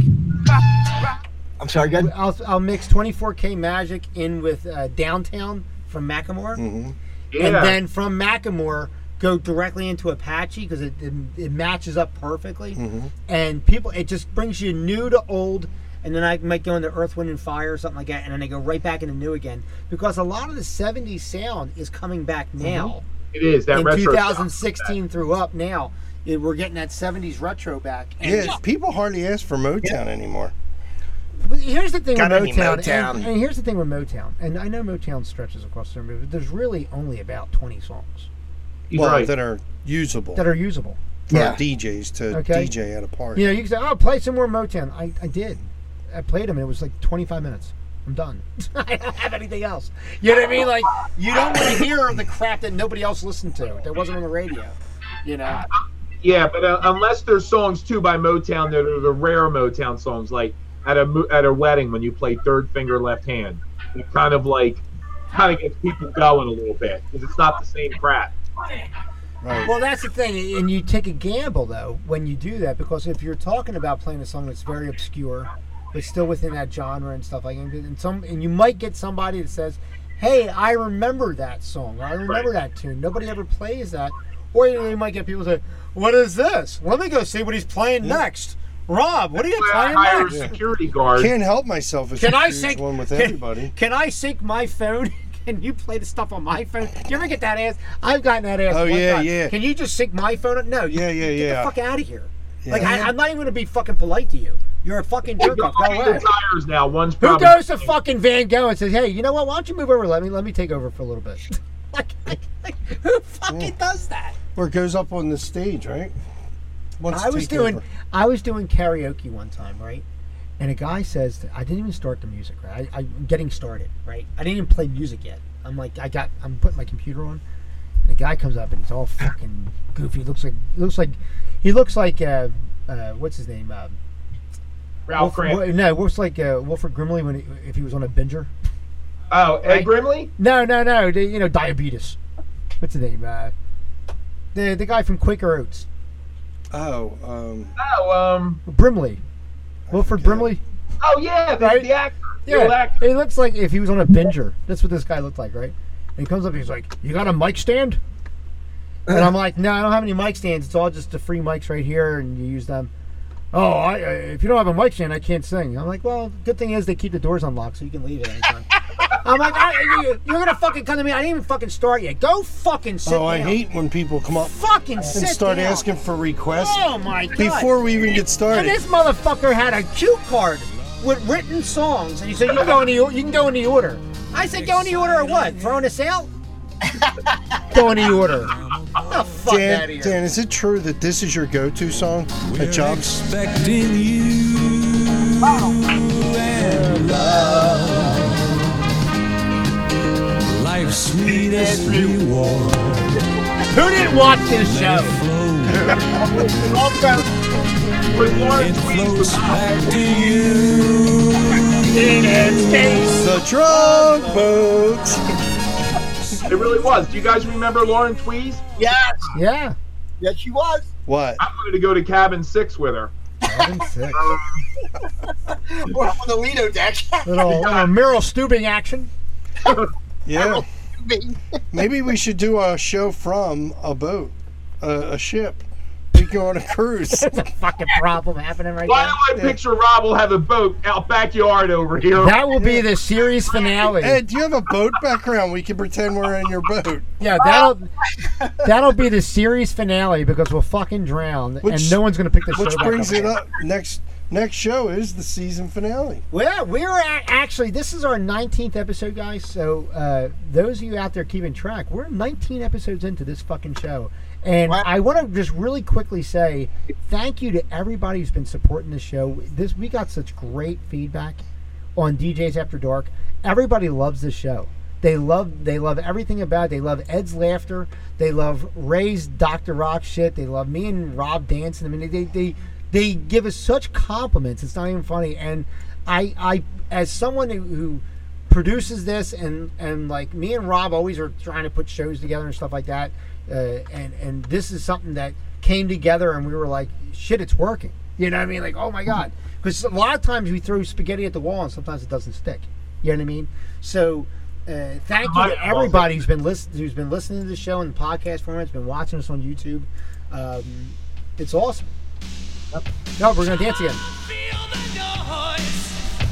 [SPEAKER 5] I'm sorry, guys.
[SPEAKER 2] I'll, I'll mix 24K Magic in with uh, Downtown from Macklemore,
[SPEAKER 4] Yeah.
[SPEAKER 2] and then from Macklemore go directly into Apache because it, it, it matches up perfectly. And people, it just brings you new to old. And then I might go into Earth, Wind, and Fire or something like that, and then I go right back into new again because a lot of the '70s sound is coming back now
[SPEAKER 4] it is that
[SPEAKER 2] in
[SPEAKER 4] retro. sound.
[SPEAKER 2] 2016 through up now, it- we're getting that 70s retro back. And
[SPEAKER 3] Yeah, people hardly ask for Motown anymore.
[SPEAKER 2] but here's the thing with
[SPEAKER 3] Got any
[SPEAKER 2] Motown,
[SPEAKER 3] Motown?
[SPEAKER 2] And, and here's the thing with Motown, and I know Motown stretches across the movie, but there's really only about 20 songs
[SPEAKER 4] He's
[SPEAKER 3] well,
[SPEAKER 4] right.
[SPEAKER 3] that are usable
[SPEAKER 2] that are usable.
[SPEAKER 3] for
[SPEAKER 5] Yeah.
[SPEAKER 3] DJs to
[SPEAKER 2] Okay.
[SPEAKER 3] DJ at a party.
[SPEAKER 2] You know, you can say, "Oh, play some more Motown." I, I did. I played them, and it was like 25 minutes. I'm done. I don't have anything else. You know what I mean? Like, you don't want to hear the crap that nobody else listened to that wasn't on the radio. You know,
[SPEAKER 4] Yeah, but uh, unless there's songs too by Motown that are the rare Motown songs, like at a mo- at a wedding when you play Third Finger Left Hand, it kind of like kind of gets people going a little bit because it's not the same crap.
[SPEAKER 3] Right.
[SPEAKER 2] Well, that's the thing, and you take a gamble though when you do that because if you're talking about playing a song that's very obscure, but still within that genre and stuff like that, and some and you might get somebody that says, "Hey, I remember that song. Or I remember that tune. Nobody ever plays that." Or you, know, you might get people say, "What is this? Let me go see what he's playing next." Rob, what are you
[SPEAKER 4] I
[SPEAKER 2] playing
[SPEAKER 4] hire a
[SPEAKER 2] next?
[SPEAKER 4] security guard.
[SPEAKER 3] Can't help myself. It's
[SPEAKER 2] Can
[SPEAKER 3] a
[SPEAKER 2] I
[SPEAKER 3] huge
[SPEAKER 2] sing-
[SPEAKER 3] one with
[SPEAKER 2] can-
[SPEAKER 3] everybody?
[SPEAKER 2] Can I sync my phone? Can you play the stuff on my phone? Do you ever get that ass? I've gotten that ass.
[SPEAKER 3] Oh,
[SPEAKER 2] one
[SPEAKER 3] yeah,
[SPEAKER 2] time.
[SPEAKER 3] yeah.
[SPEAKER 2] Can you just sync my phone? up? No. you-
[SPEAKER 3] Yeah, yeah,
[SPEAKER 2] get
[SPEAKER 3] yeah.
[SPEAKER 2] the fuck out of here.
[SPEAKER 3] Yeah.
[SPEAKER 2] Like I, I'm not even gonna be fucking polite to you. You're a fucking
[SPEAKER 4] They're
[SPEAKER 2] jerk off. Go
[SPEAKER 4] looking at
[SPEAKER 2] away.
[SPEAKER 4] the tires now. One's
[SPEAKER 3] Um,
[SPEAKER 2] Who
[SPEAKER 4] probably
[SPEAKER 2] goes to fucking Van Gogh and says, "Hey, you know what? Why don't you move over? Let me let me take over for a little bit." like, like, like, who fucking does that?
[SPEAKER 3] Or it goes up on the stage, right? Once
[SPEAKER 2] I was
[SPEAKER 3] take
[SPEAKER 2] doing
[SPEAKER 3] over.
[SPEAKER 2] I was doing karaoke one time, right? And a guy says that I didn't even start the music, right? I, I'm getting started, right? I didn't even play music yet. I'm like, I got, I'm putting my computer on, and a guy comes up and he's all fucking goofy. Looks like, looks like, he looks like, uh, uh, what's his name? Uh,
[SPEAKER 4] Ralph Cramp.
[SPEAKER 2] Wo- no, looks like uh, Wilfred Grimley when he, if he was on a binger.
[SPEAKER 4] Oh, Ed Grimley?
[SPEAKER 2] No, no, no. The, you know, diabetes. What's his name? Uh, the the guy from Quaker Oats,
[SPEAKER 3] Oh, um,
[SPEAKER 4] Oh, um,
[SPEAKER 2] Brimley, Wilfred
[SPEAKER 3] forget.
[SPEAKER 2] Brimley.
[SPEAKER 4] oh yeah, the,
[SPEAKER 2] Right?
[SPEAKER 4] the actor. the old
[SPEAKER 2] Yeah,
[SPEAKER 4] actor.
[SPEAKER 2] it looks like if he was on a binger. That's what this guy looked like, right? And he comes up, he's like, "You got a mic stand?" And I'm like, no, I don't have any mic stands. It's all just the free mics right here, and you use them. Oh, I, I- if you don't have a mic stand, I can't sing. I'm like, well, good thing is they keep the doors unlocked, so you can leave at any time. I'm like, I, you, you're gonna fucking come to me. I didn't even fucking start yet. Go fucking sit
[SPEAKER 3] Oh, I
[SPEAKER 2] down.
[SPEAKER 3] hate when people come up
[SPEAKER 2] fucking
[SPEAKER 3] and
[SPEAKER 2] sit
[SPEAKER 3] start
[SPEAKER 2] down.
[SPEAKER 3] asking for requests
[SPEAKER 2] Oh my god!
[SPEAKER 3] before we even get
[SPEAKER 2] and
[SPEAKER 3] started.
[SPEAKER 2] this motherfucker had a cue card with written songs, and he said you can go in the or- you can go in the order. I said go in the order of what? Throwing a sale? go in the order. The fuck out
[SPEAKER 3] Dan,
[SPEAKER 2] of here.
[SPEAKER 3] Dan, is it true that this is your go-to song at jobs?
[SPEAKER 7] Expecting you and love. Life's sweetest reward.
[SPEAKER 2] Who didn't watch this show?
[SPEAKER 7] flows.
[SPEAKER 2] Also,
[SPEAKER 4] With Lauren
[SPEAKER 7] It flows
[SPEAKER 4] Tweed,
[SPEAKER 7] back to you.
[SPEAKER 3] The drunk boat.
[SPEAKER 4] it really was. Do you guys remember Lauren Tweed?
[SPEAKER 5] Yes,
[SPEAKER 2] yeah.
[SPEAKER 5] yes, she was.
[SPEAKER 3] What?
[SPEAKER 4] I wanted to go to cabin six with her.
[SPEAKER 5] We're on the Lido deck.
[SPEAKER 2] Little uh, Meryl Stubing action.
[SPEAKER 3] Yeah. Maybe we should do a show from a boat, a, a ship. We go on a cruise.
[SPEAKER 2] Fucking problem happening right
[SPEAKER 4] Why
[SPEAKER 2] now.
[SPEAKER 4] do I picture Rob will have a boat out backyard over here?
[SPEAKER 2] That will be the series finale.
[SPEAKER 3] Ed, do you have a boat background? We can pretend we're in your boat.
[SPEAKER 2] Yeah, that'll that'll be the series finale because we'll fucking drown and
[SPEAKER 3] Which-
[SPEAKER 2] no one's gonna pick this
[SPEAKER 3] Which
[SPEAKER 2] show back
[SPEAKER 3] brings
[SPEAKER 2] up.
[SPEAKER 3] it up next. Next show is the season finale.
[SPEAKER 2] Well, we're at, actually this is our 19th episode, guys. So uh, those of you out there keeping track, we're 19 episodes into this fucking show, and
[SPEAKER 5] Wow.
[SPEAKER 2] I want to just really quickly say thank you to everybody who's been supporting this show. This we got such great feedback on DJs After Dark. Everybody loves this show. They love they love everything about it. They love Ed's laughter. They love Ray's Doctor Rock shit. They love me and Rob dancing. I mean, they they they give us such compliments. It's not even funny. And I I as someone who, who produces this and and like me and Rob always are trying to put shows together and stuff like that. Uh, and and this is something that came together and we were like, shit, it's working. You know what I mean? Like, oh my god, because a lot of times we throw spaghetti at the wall and sometimes it doesn't stick. You know what I mean? So. Uh, thank you to everybody who's been listening, who's been listening to the show in podcast format, has been watching us on YouTube. Um, it's awesome. No, we're gonna dance again.
[SPEAKER 8] Feel the noise.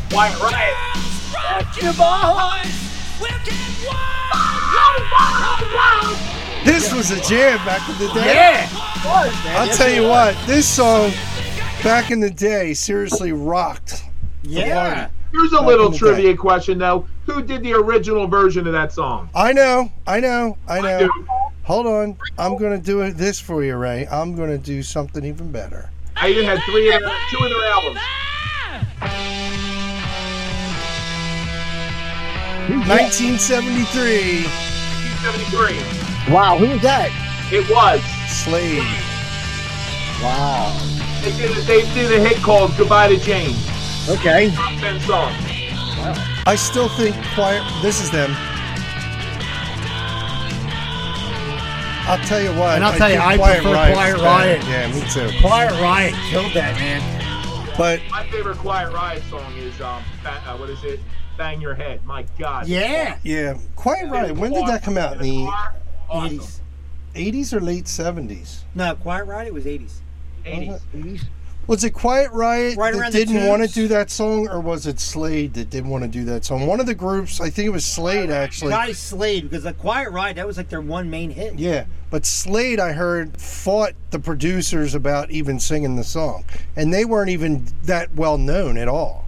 [SPEAKER 4] Why, right?
[SPEAKER 8] Girls from your boys. We'll get wild. wild, wild, wild.
[SPEAKER 3] This was a jam back in the day. I'll
[SPEAKER 2] Yes,
[SPEAKER 3] tell
[SPEAKER 2] it
[SPEAKER 3] you what, this song back in the day seriously rocked.
[SPEAKER 2] Yeah.
[SPEAKER 4] Here's a little
[SPEAKER 3] in the
[SPEAKER 4] trivia
[SPEAKER 3] day.
[SPEAKER 4] question though. Who did the original version of that song?
[SPEAKER 3] I know, I know, I know.
[SPEAKER 4] Dude,
[SPEAKER 3] Hold on, I'm gonna do it- this for you, Ray. I'm gonna do something even better.
[SPEAKER 4] Aiden had three, of their- two of their albums.
[SPEAKER 8] Ah!
[SPEAKER 3] 1973,
[SPEAKER 4] 1973.
[SPEAKER 5] Wow, who was that?
[SPEAKER 4] It was.
[SPEAKER 3] Slade.
[SPEAKER 5] Wow.
[SPEAKER 4] They did, a, they did a hit called Goodbye to Jane.
[SPEAKER 5] Okay.
[SPEAKER 4] Top 10 song.
[SPEAKER 3] I still think Quiet. This is them. I'll tell you what.
[SPEAKER 2] And I'll tell you,
[SPEAKER 3] think
[SPEAKER 2] I prefer
[SPEAKER 3] Riot's
[SPEAKER 2] Quiet
[SPEAKER 3] better.
[SPEAKER 2] Riot.
[SPEAKER 3] Yeah, me too.
[SPEAKER 2] Quiet Riot killed that man.
[SPEAKER 3] But
[SPEAKER 4] My favorite Quiet Riot song is, um, ba- uh, what is it? Bang Your Head. My God.
[SPEAKER 2] Yeah.
[SPEAKER 3] yeah, Quiet Riot. When did that come out? In the
[SPEAKER 4] Awesome.
[SPEAKER 2] 80s.
[SPEAKER 3] 80s or late 70s?
[SPEAKER 2] No, Quiet Riot was 80s.
[SPEAKER 4] 80s.
[SPEAKER 3] Was it Quiet Riot
[SPEAKER 2] Right
[SPEAKER 3] that
[SPEAKER 2] around the
[SPEAKER 3] didn't want to
[SPEAKER 2] tubes.
[SPEAKER 3] do that song, or was it Slade that didn't want to do that song? One of the groups, I think it was Slade actually.
[SPEAKER 9] Guys Slade, because the Quiet Ride, that was like their one main hit.
[SPEAKER 3] Yeah, but Slade, I heard, fought the producers about even singing the song, and they weren't even that well known at all.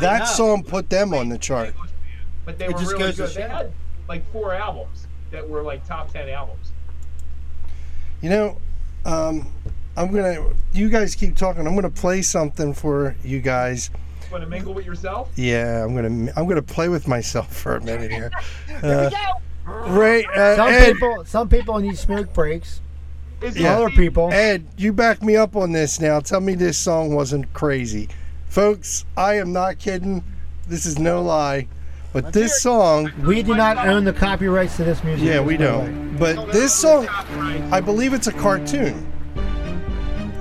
[SPEAKER 3] that
[SPEAKER 9] no.
[SPEAKER 3] song put them on the chart.
[SPEAKER 4] But they
[SPEAKER 9] It
[SPEAKER 4] were
[SPEAKER 9] just
[SPEAKER 4] really
[SPEAKER 9] goes to
[SPEAKER 4] good. They
[SPEAKER 9] show.
[SPEAKER 4] had like four albums that were like top 10 albums.
[SPEAKER 3] You know, um, I'm gonna. You guys keep talking. I'm gonna play something for you guys.
[SPEAKER 4] Want to mingle with yourself?
[SPEAKER 3] Yeah, I'm gonna. I'm gonna play with myself for a minute here. Uh, Ray, uh,
[SPEAKER 2] Some
[SPEAKER 3] Ed,
[SPEAKER 2] people some people need smoke breaks.
[SPEAKER 4] Is
[SPEAKER 3] Yeah.
[SPEAKER 2] Other people.
[SPEAKER 3] Ed, you back me up on this now. Tell me this song wasn't crazy. Folks, I am not kidding. This is no lie. But this song,
[SPEAKER 2] We do not own the copyrights to this music.
[SPEAKER 3] yeah, we don't. But this song,
[SPEAKER 4] Right.
[SPEAKER 3] I believe it's a cartoon.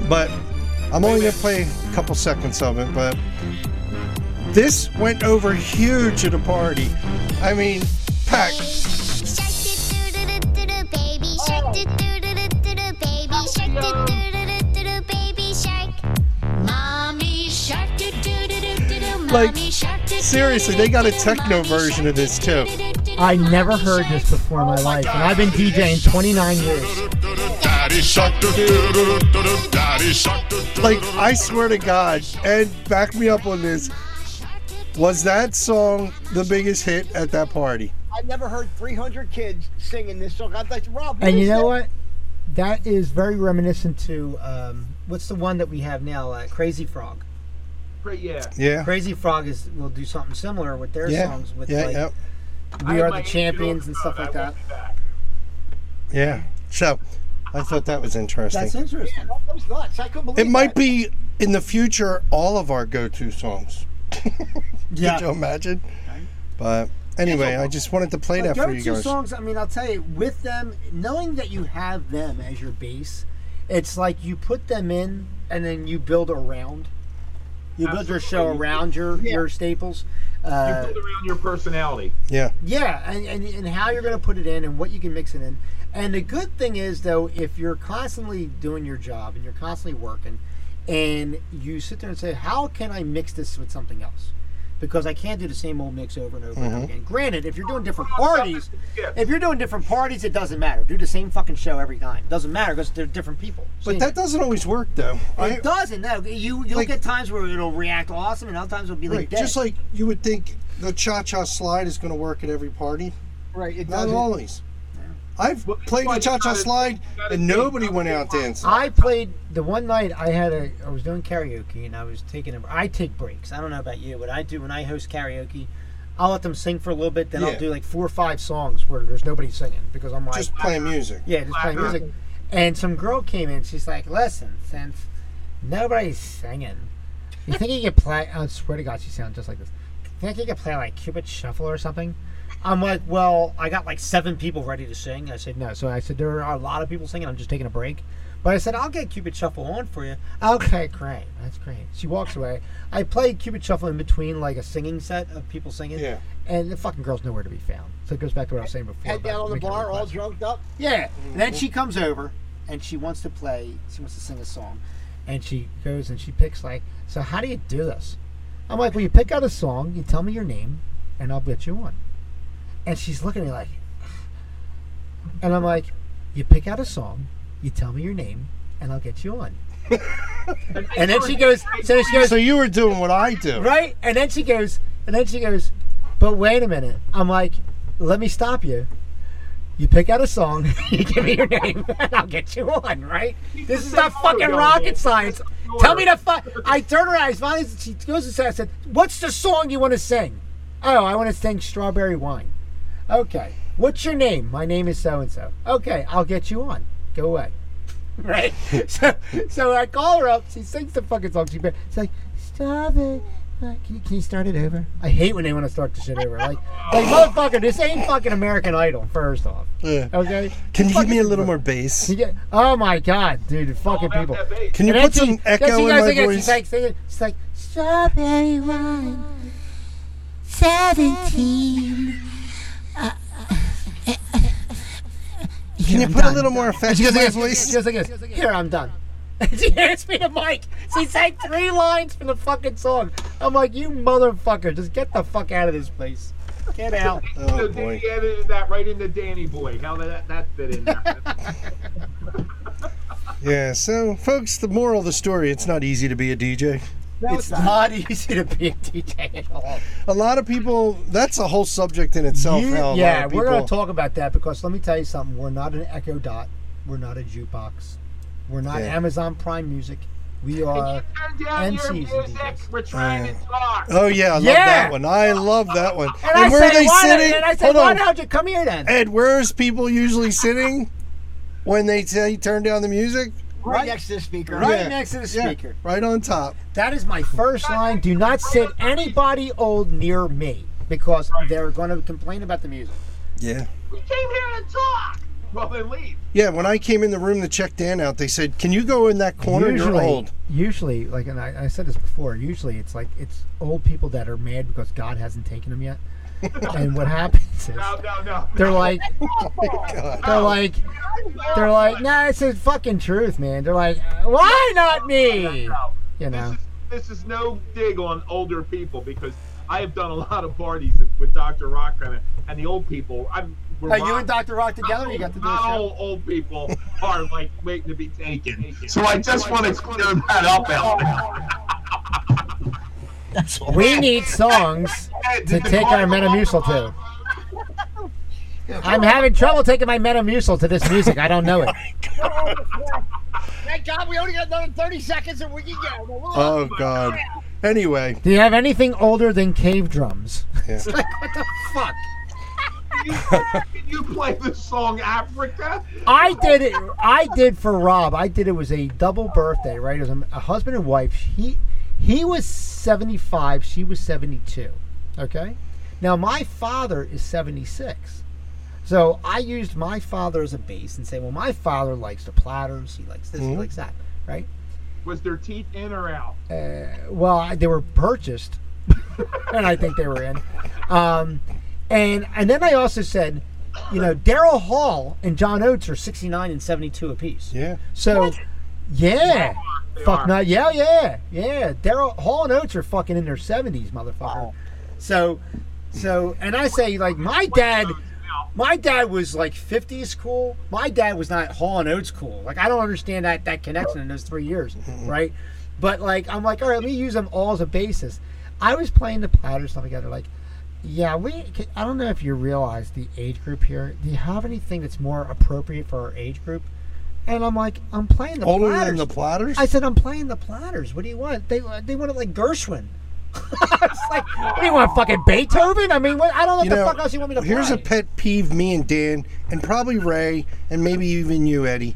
[SPEAKER 3] But I'm only going to play a couple seconds of it. But this went over huge at a party. I mean, packed.
[SPEAKER 10] Shake it, doo doo doo doo doo, baby. Shake it, doo doo
[SPEAKER 3] Like, seriously, they got a techno version of this too.
[SPEAKER 2] I never heard this before in my life, and I've been DJing 29 years.
[SPEAKER 3] Like, I swear to God, and back me up on this. Was that song the biggest hit at that party?
[SPEAKER 5] I've never heard 300 kids singing this song. I'm like, Rob,
[SPEAKER 2] And you
[SPEAKER 5] is
[SPEAKER 2] know
[SPEAKER 5] that?
[SPEAKER 2] what? That is very reminiscent to um, what's the one that we have now, uh, Crazy Frog.
[SPEAKER 4] Pretty- yeah.
[SPEAKER 3] Yeah.
[SPEAKER 2] Crazy Frog is will do something similar with their
[SPEAKER 3] Yeah.
[SPEAKER 2] songs with
[SPEAKER 3] Yeah,
[SPEAKER 2] like
[SPEAKER 3] yeah,
[SPEAKER 4] I
[SPEAKER 2] We
[SPEAKER 4] have
[SPEAKER 2] Are
[SPEAKER 4] my
[SPEAKER 2] the
[SPEAKER 4] eight-year-old
[SPEAKER 2] Champions and stuff
[SPEAKER 4] son.
[SPEAKER 2] like
[SPEAKER 4] I
[SPEAKER 2] that.
[SPEAKER 4] won't be back.
[SPEAKER 3] yeah. So, I thought that was interesting.
[SPEAKER 2] That's interesting.
[SPEAKER 5] Yeah, that- that was nuts. I couldn't believe
[SPEAKER 3] It might
[SPEAKER 5] that.
[SPEAKER 3] be in the future all of our go-to songs. Could you imagine? But anyway, I just wanted to play
[SPEAKER 2] Like,
[SPEAKER 3] that for you
[SPEAKER 2] go-to
[SPEAKER 3] guys.
[SPEAKER 2] songs. I mean, I'll tell you, with them, knowing that you have them as your base, it's like you put them in and then you build around. You build your show
[SPEAKER 4] Absolutely.
[SPEAKER 2] around your your staples.
[SPEAKER 4] You
[SPEAKER 2] Uh,
[SPEAKER 4] build around your personality.
[SPEAKER 3] Yeah.
[SPEAKER 2] yeah, and, and, and how you're going to put it in and what you can mix it in. And the good thing is, though, if you're constantly doing your job and you're constantly working, and you sit there and say, How can I mix this with something else? Because I can't do the same old mix over and over
[SPEAKER 3] Mm-hmm.
[SPEAKER 2] and over again. Granted, if you're doing different parties,
[SPEAKER 4] Yeah.
[SPEAKER 2] if you're doing different parties, it doesn't matter. Do the same fucking show every time. Doesn't matter because they're different people.
[SPEAKER 3] But that doesn't always work though. I,
[SPEAKER 2] it doesn't. No, you you'll
[SPEAKER 3] Like-
[SPEAKER 2] get times where it'll react awesome, and other times it'll be like
[SPEAKER 3] right,
[SPEAKER 2] dead.
[SPEAKER 3] just like you would think the cha-cha slide is going to work at every party.
[SPEAKER 5] Right, it
[SPEAKER 3] Not
[SPEAKER 5] doesn't.
[SPEAKER 3] always. I've
[SPEAKER 4] Well, that's
[SPEAKER 3] played
[SPEAKER 4] why
[SPEAKER 3] the
[SPEAKER 4] you
[SPEAKER 3] cha-cha
[SPEAKER 4] gotta-
[SPEAKER 3] slide
[SPEAKER 4] you gotta
[SPEAKER 3] and
[SPEAKER 4] think
[SPEAKER 3] nobody
[SPEAKER 4] about
[SPEAKER 3] went
[SPEAKER 4] it.
[SPEAKER 3] out dancing.
[SPEAKER 2] I played the one night I had a I was doing karaoke and I was taking a I take breaks. I don't know about you, but I do when I host karaoke. I'll let them sing for a little bit, then
[SPEAKER 3] Yeah.
[SPEAKER 2] I'll do like four or five songs where there's nobody singing because I'm like,
[SPEAKER 3] Just playing music.
[SPEAKER 2] yeah, just playing music. And some girl came in. She's like, "Listen, since nobody's singing, you think you could play?" I swear to God, she sounds just like this. You think you could play like Cupid Shuffle or something? I'm like, "Well, I got like seven people ready to sing." I said, "No." So I said, "There are a lot of people singing. I'm just taking a break." But I said, "I'll get Cupid Shuffle on for you." Okay, great. That's great. She walks away. I played Cupid Shuffle in between like a singing set of people singing.
[SPEAKER 3] Yeah.
[SPEAKER 2] And the fucking girl's nowhere to be found. So it goes back to what I was saying before.
[SPEAKER 5] Head
[SPEAKER 2] about
[SPEAKER 5] down on the
[SPEAKER 2] making a
[SPEAKER 5] bar, all
[SPEAKER 2] request.
[SPEAKER 5] drugged up.
[SPEAKER 2] Yeah. And then she comes over and she wants to play, she wants to sing a song. And she goes and she picks, like, so how do you do this? I'm like, well, you pick out a song, you tell me your name, and I'll bet you one. And she's looking at me like, and I'm like, you pick out a song, you tell me your name, and I'll get you one. and then she goes, so she goes,
[SPEAKER 3] So you were doing what I do.
[SPEAKER 2] right? And then she goes, and then she goes, but wait a minute. I'm like, let me stop you. You pick out a song, you give me your name, and I'll get you one, right? This is not fucking rocket science. Tell me the fuck. I turn around, I finally, she goes and says, I said, what's the song you want to sing? Oh, I want to sing Strawberry Wine. Okay. What's your name? My name is so and so. Okay, I'll get you on. Go away. Right? so, so I call her up. She sings the fucking song. She ba- It's like, stop it. Uh, Can you, can you start it over? I hate when they want to start the shit over. Like, like motherfucker, this ain't fucking American Idol. First off,
[SPEAKER 3] Yeah.
[SPEAKER 2] okay.
[SPEAKER 3] Can you give me a little
[SPEAKER 2] Fucking-
[SPEAKER 3] more bass?
[SPEAKER 2] You get- oh my god, dude, the fucking people.
[SPEAKER 3] Can you
[SPEAKER 2] And then
[SPEAKER 3] put
[SPEAKER 2] she-
[SPEAKER 3] some
[SPEAKER 2] then
[SPEAKER 3] echo
[SPEAKER 2] she
[SPEAKER 3] in
[SPEAKER 2] goes
[SPEAKER 3] my
[SPEAKER 2] again,
[SPEAKER 3] voice?
[SPEAKER 2] She's like, singing, she's like, strawberry wine, seventeen.
[SPEAKER 3] Can you put a little more effect
[SPEAKER 2] She
[SPEAKER 3] in
[SPEAKER 2] goes,
[SPEAKER 3] my
[SPEAKER 2] like this, she
[SPEAKER 3] voice?
[SPEAKER 2] goes like this. Here, I'm done. she hands me the mic. She sang three lines from the fucking song. I'm like, you motherfucker, just get the fuck out of this place. Get out.
[SPEAKER 3] Oh,
[SPEAKER 4] so
[SPEAKER 3] boy.
[SPEAKER 4] Diddy edited that right into Danny Boy. How did that that fit in there?
[SPEAKER 3] Yeah, so folks, the moral of the story, it's not easy to be a DJ.
[SPEAKER 2] it's not easy to be a DJ at all.
[SPEAKER 3] A lot of people that's a whole subject in itself.
[SPEAKER 2] You-
[SPEAKER 3] how a lot
[SPEAKER 2] yeah,
[SPEAKER 3] of
[SPEAKER 2] we're going
[SPEAKER 3] people-
[SPEAKER 2] to talk about that because let me tell you something. We're not an Echo Dot. We're not a jukebox. We're not
[SPEAKER 3] Yeah.
[SPEAKER 2] Amazon Prime Music. We are.
[SPEAKER 4] Turn down your
[SPEAKER 2] MCs and
[SPEAKER 4] music.
[SPEAKER 2] DJs.
[SPEAKER 4] We're trying to talk.
[SPEAKER 3] Oh yeah, I love
[SPEAKER 2] Yeah.
[SPEAKER 3] that one. I love that one.
[SPEAKER 2] And, I
[SPEAKER 3] where
[SPEAKER 2] said,
[SPEAKER 3] are they
[SPEAKER 2] why,
[SPEAKER 3] sitting?
[SPEAKER 2] And I said,
[SPEAKER 3] Hold
[SPEAKER 2] why
[SPEAKER 3] on,
[SPEAKER 2] don't you come here then?
[SPEAKER 3] Ed. Where's people usually sitting when they say turn down the music?
[SPEAKER 5] Right, next to the speaker.
[SPEAKER 2] Right
[SPEAKER 3] Yeah.
[SPEAKER 2] next to the
[SPEAKER 3] Yeah,
[SPEAKER 2] speaker.
[SPEAKER 3] right on top.
[SPEAKER 2] That is my first line. Do not sit anybody old near me because they're going to complain about the music.
[SPEAKER 3] Yeah.
[SPEAKER 4] We came here to talk. Well, then leave.
[SPEAKER 3] Yeah. When I came in the room to check Dan out, they said, "Can you go in that corner? You're old."
[SPEAKER 2] usually, like, and I, I said this before. Usually, it's like it's old people that are mad because God hasn't taken them yet. and what happens is
[SPEAKER 4] No, no, no.
[SPEAKER 2] they're like,
[SPEAKER 3] God.
[SPEAKER 2] they're like, they're like, nah, it's the fucking truth, man. They're like, why not me?
[SPEAKER 4] No.
[SPEAKER 2] You know,
[SPEAKER 4] This is this is no dig on older people because I have done a lot of parties with Dr. Rock and, and the old people. I'm we're
[SPEAKER 2] Hey, you
[SPEAKER 4] rock-
[SPEAKER 2] and Dr. Rock together, you got to do a
[SPEAKER 4] not
[SPEAKER 2] show.
[SPEAKER 4] all old people are like waiting to be taken. So I just want to clear that up out there.
[SPEAKER 5] That's all.
[SPEAKER 2] We need songs to take our Metamucil to. I'm having trouble taking my Metamucil to this music. I don't know it.
[SPEAKER 5] Thank God we only got another 30 seconds and we can go. Well, we'll-
[SPEAKER 3] Oh God. Anyway,
[SPEAKER 2] Do you have anything older than cave drums?
[SPEAKER 3] yeah.
[SPEAKER 2] Fuck.
[SPEAKER 4] Can you play the song Africa?
[SPEAKER 2] I did it. I did for Rob. I did it was a double birthday, right? It was a, a husband and wife. He he was 75, she was 72. Okay? Now my father is 76. So I used my father as a base and say, well, my father likes the platters, he likes this, he
[SPEAKER 3] Mhm.
[SPEAKER 2] likes that, right?
[SPEAKER 4] Was their teeth in or out?
[SPEAKER 2] uh, well, I, they were purchased, and I think they were in. Um, and and then I also said, you know, Daryl Hall and John Oates are sixty nine and seventy two apiece.
[SPEAKER 3] yeah.
[SPEAKER 2] So, yeah,
[SPEAKER 4] They
[SPEAKER 2] fuck
[SPEAKER 4] are.
[SPEAKER 2] no, yeah, yeah, yeah. Daryl Hall and Oates are fucking in their seventies, motherfucker. So, so, and I say like my dad. My dad was like 50s cool. My dad was not Hall and Oates cool. Like I don't understand that that connection in those three years, right? But like I'm like, all right, let me use them all as a basis. I was playing the platter stuff together. Like, yeah, we. I don't know if you realize the age group here. Do you have anything that's more appropriate for our age group? And I'm like, I'm playing the
[SPEAKER 3] Older
[SPEAKER 2] platters.
[SPEAKER 3] than the platters?
[SPEAKER 2] I said, I'm playing the platters. What do you want? They uh, they wanted like Gershwin. I was like, what do you want, fucking Beethoven? I mean, what, I don't know what
[SPEAKER 3] You
[SPEAKER 2] the
[SPEAKER 3] know,
[SPEAKER 2] fuck else you want me to
[SPEAKER 3] Here's
[SPEAKER 2] play.
[SPEAKER 3] a pet peeve me and Dan, and probably Ray, and maybe even you, Eddie.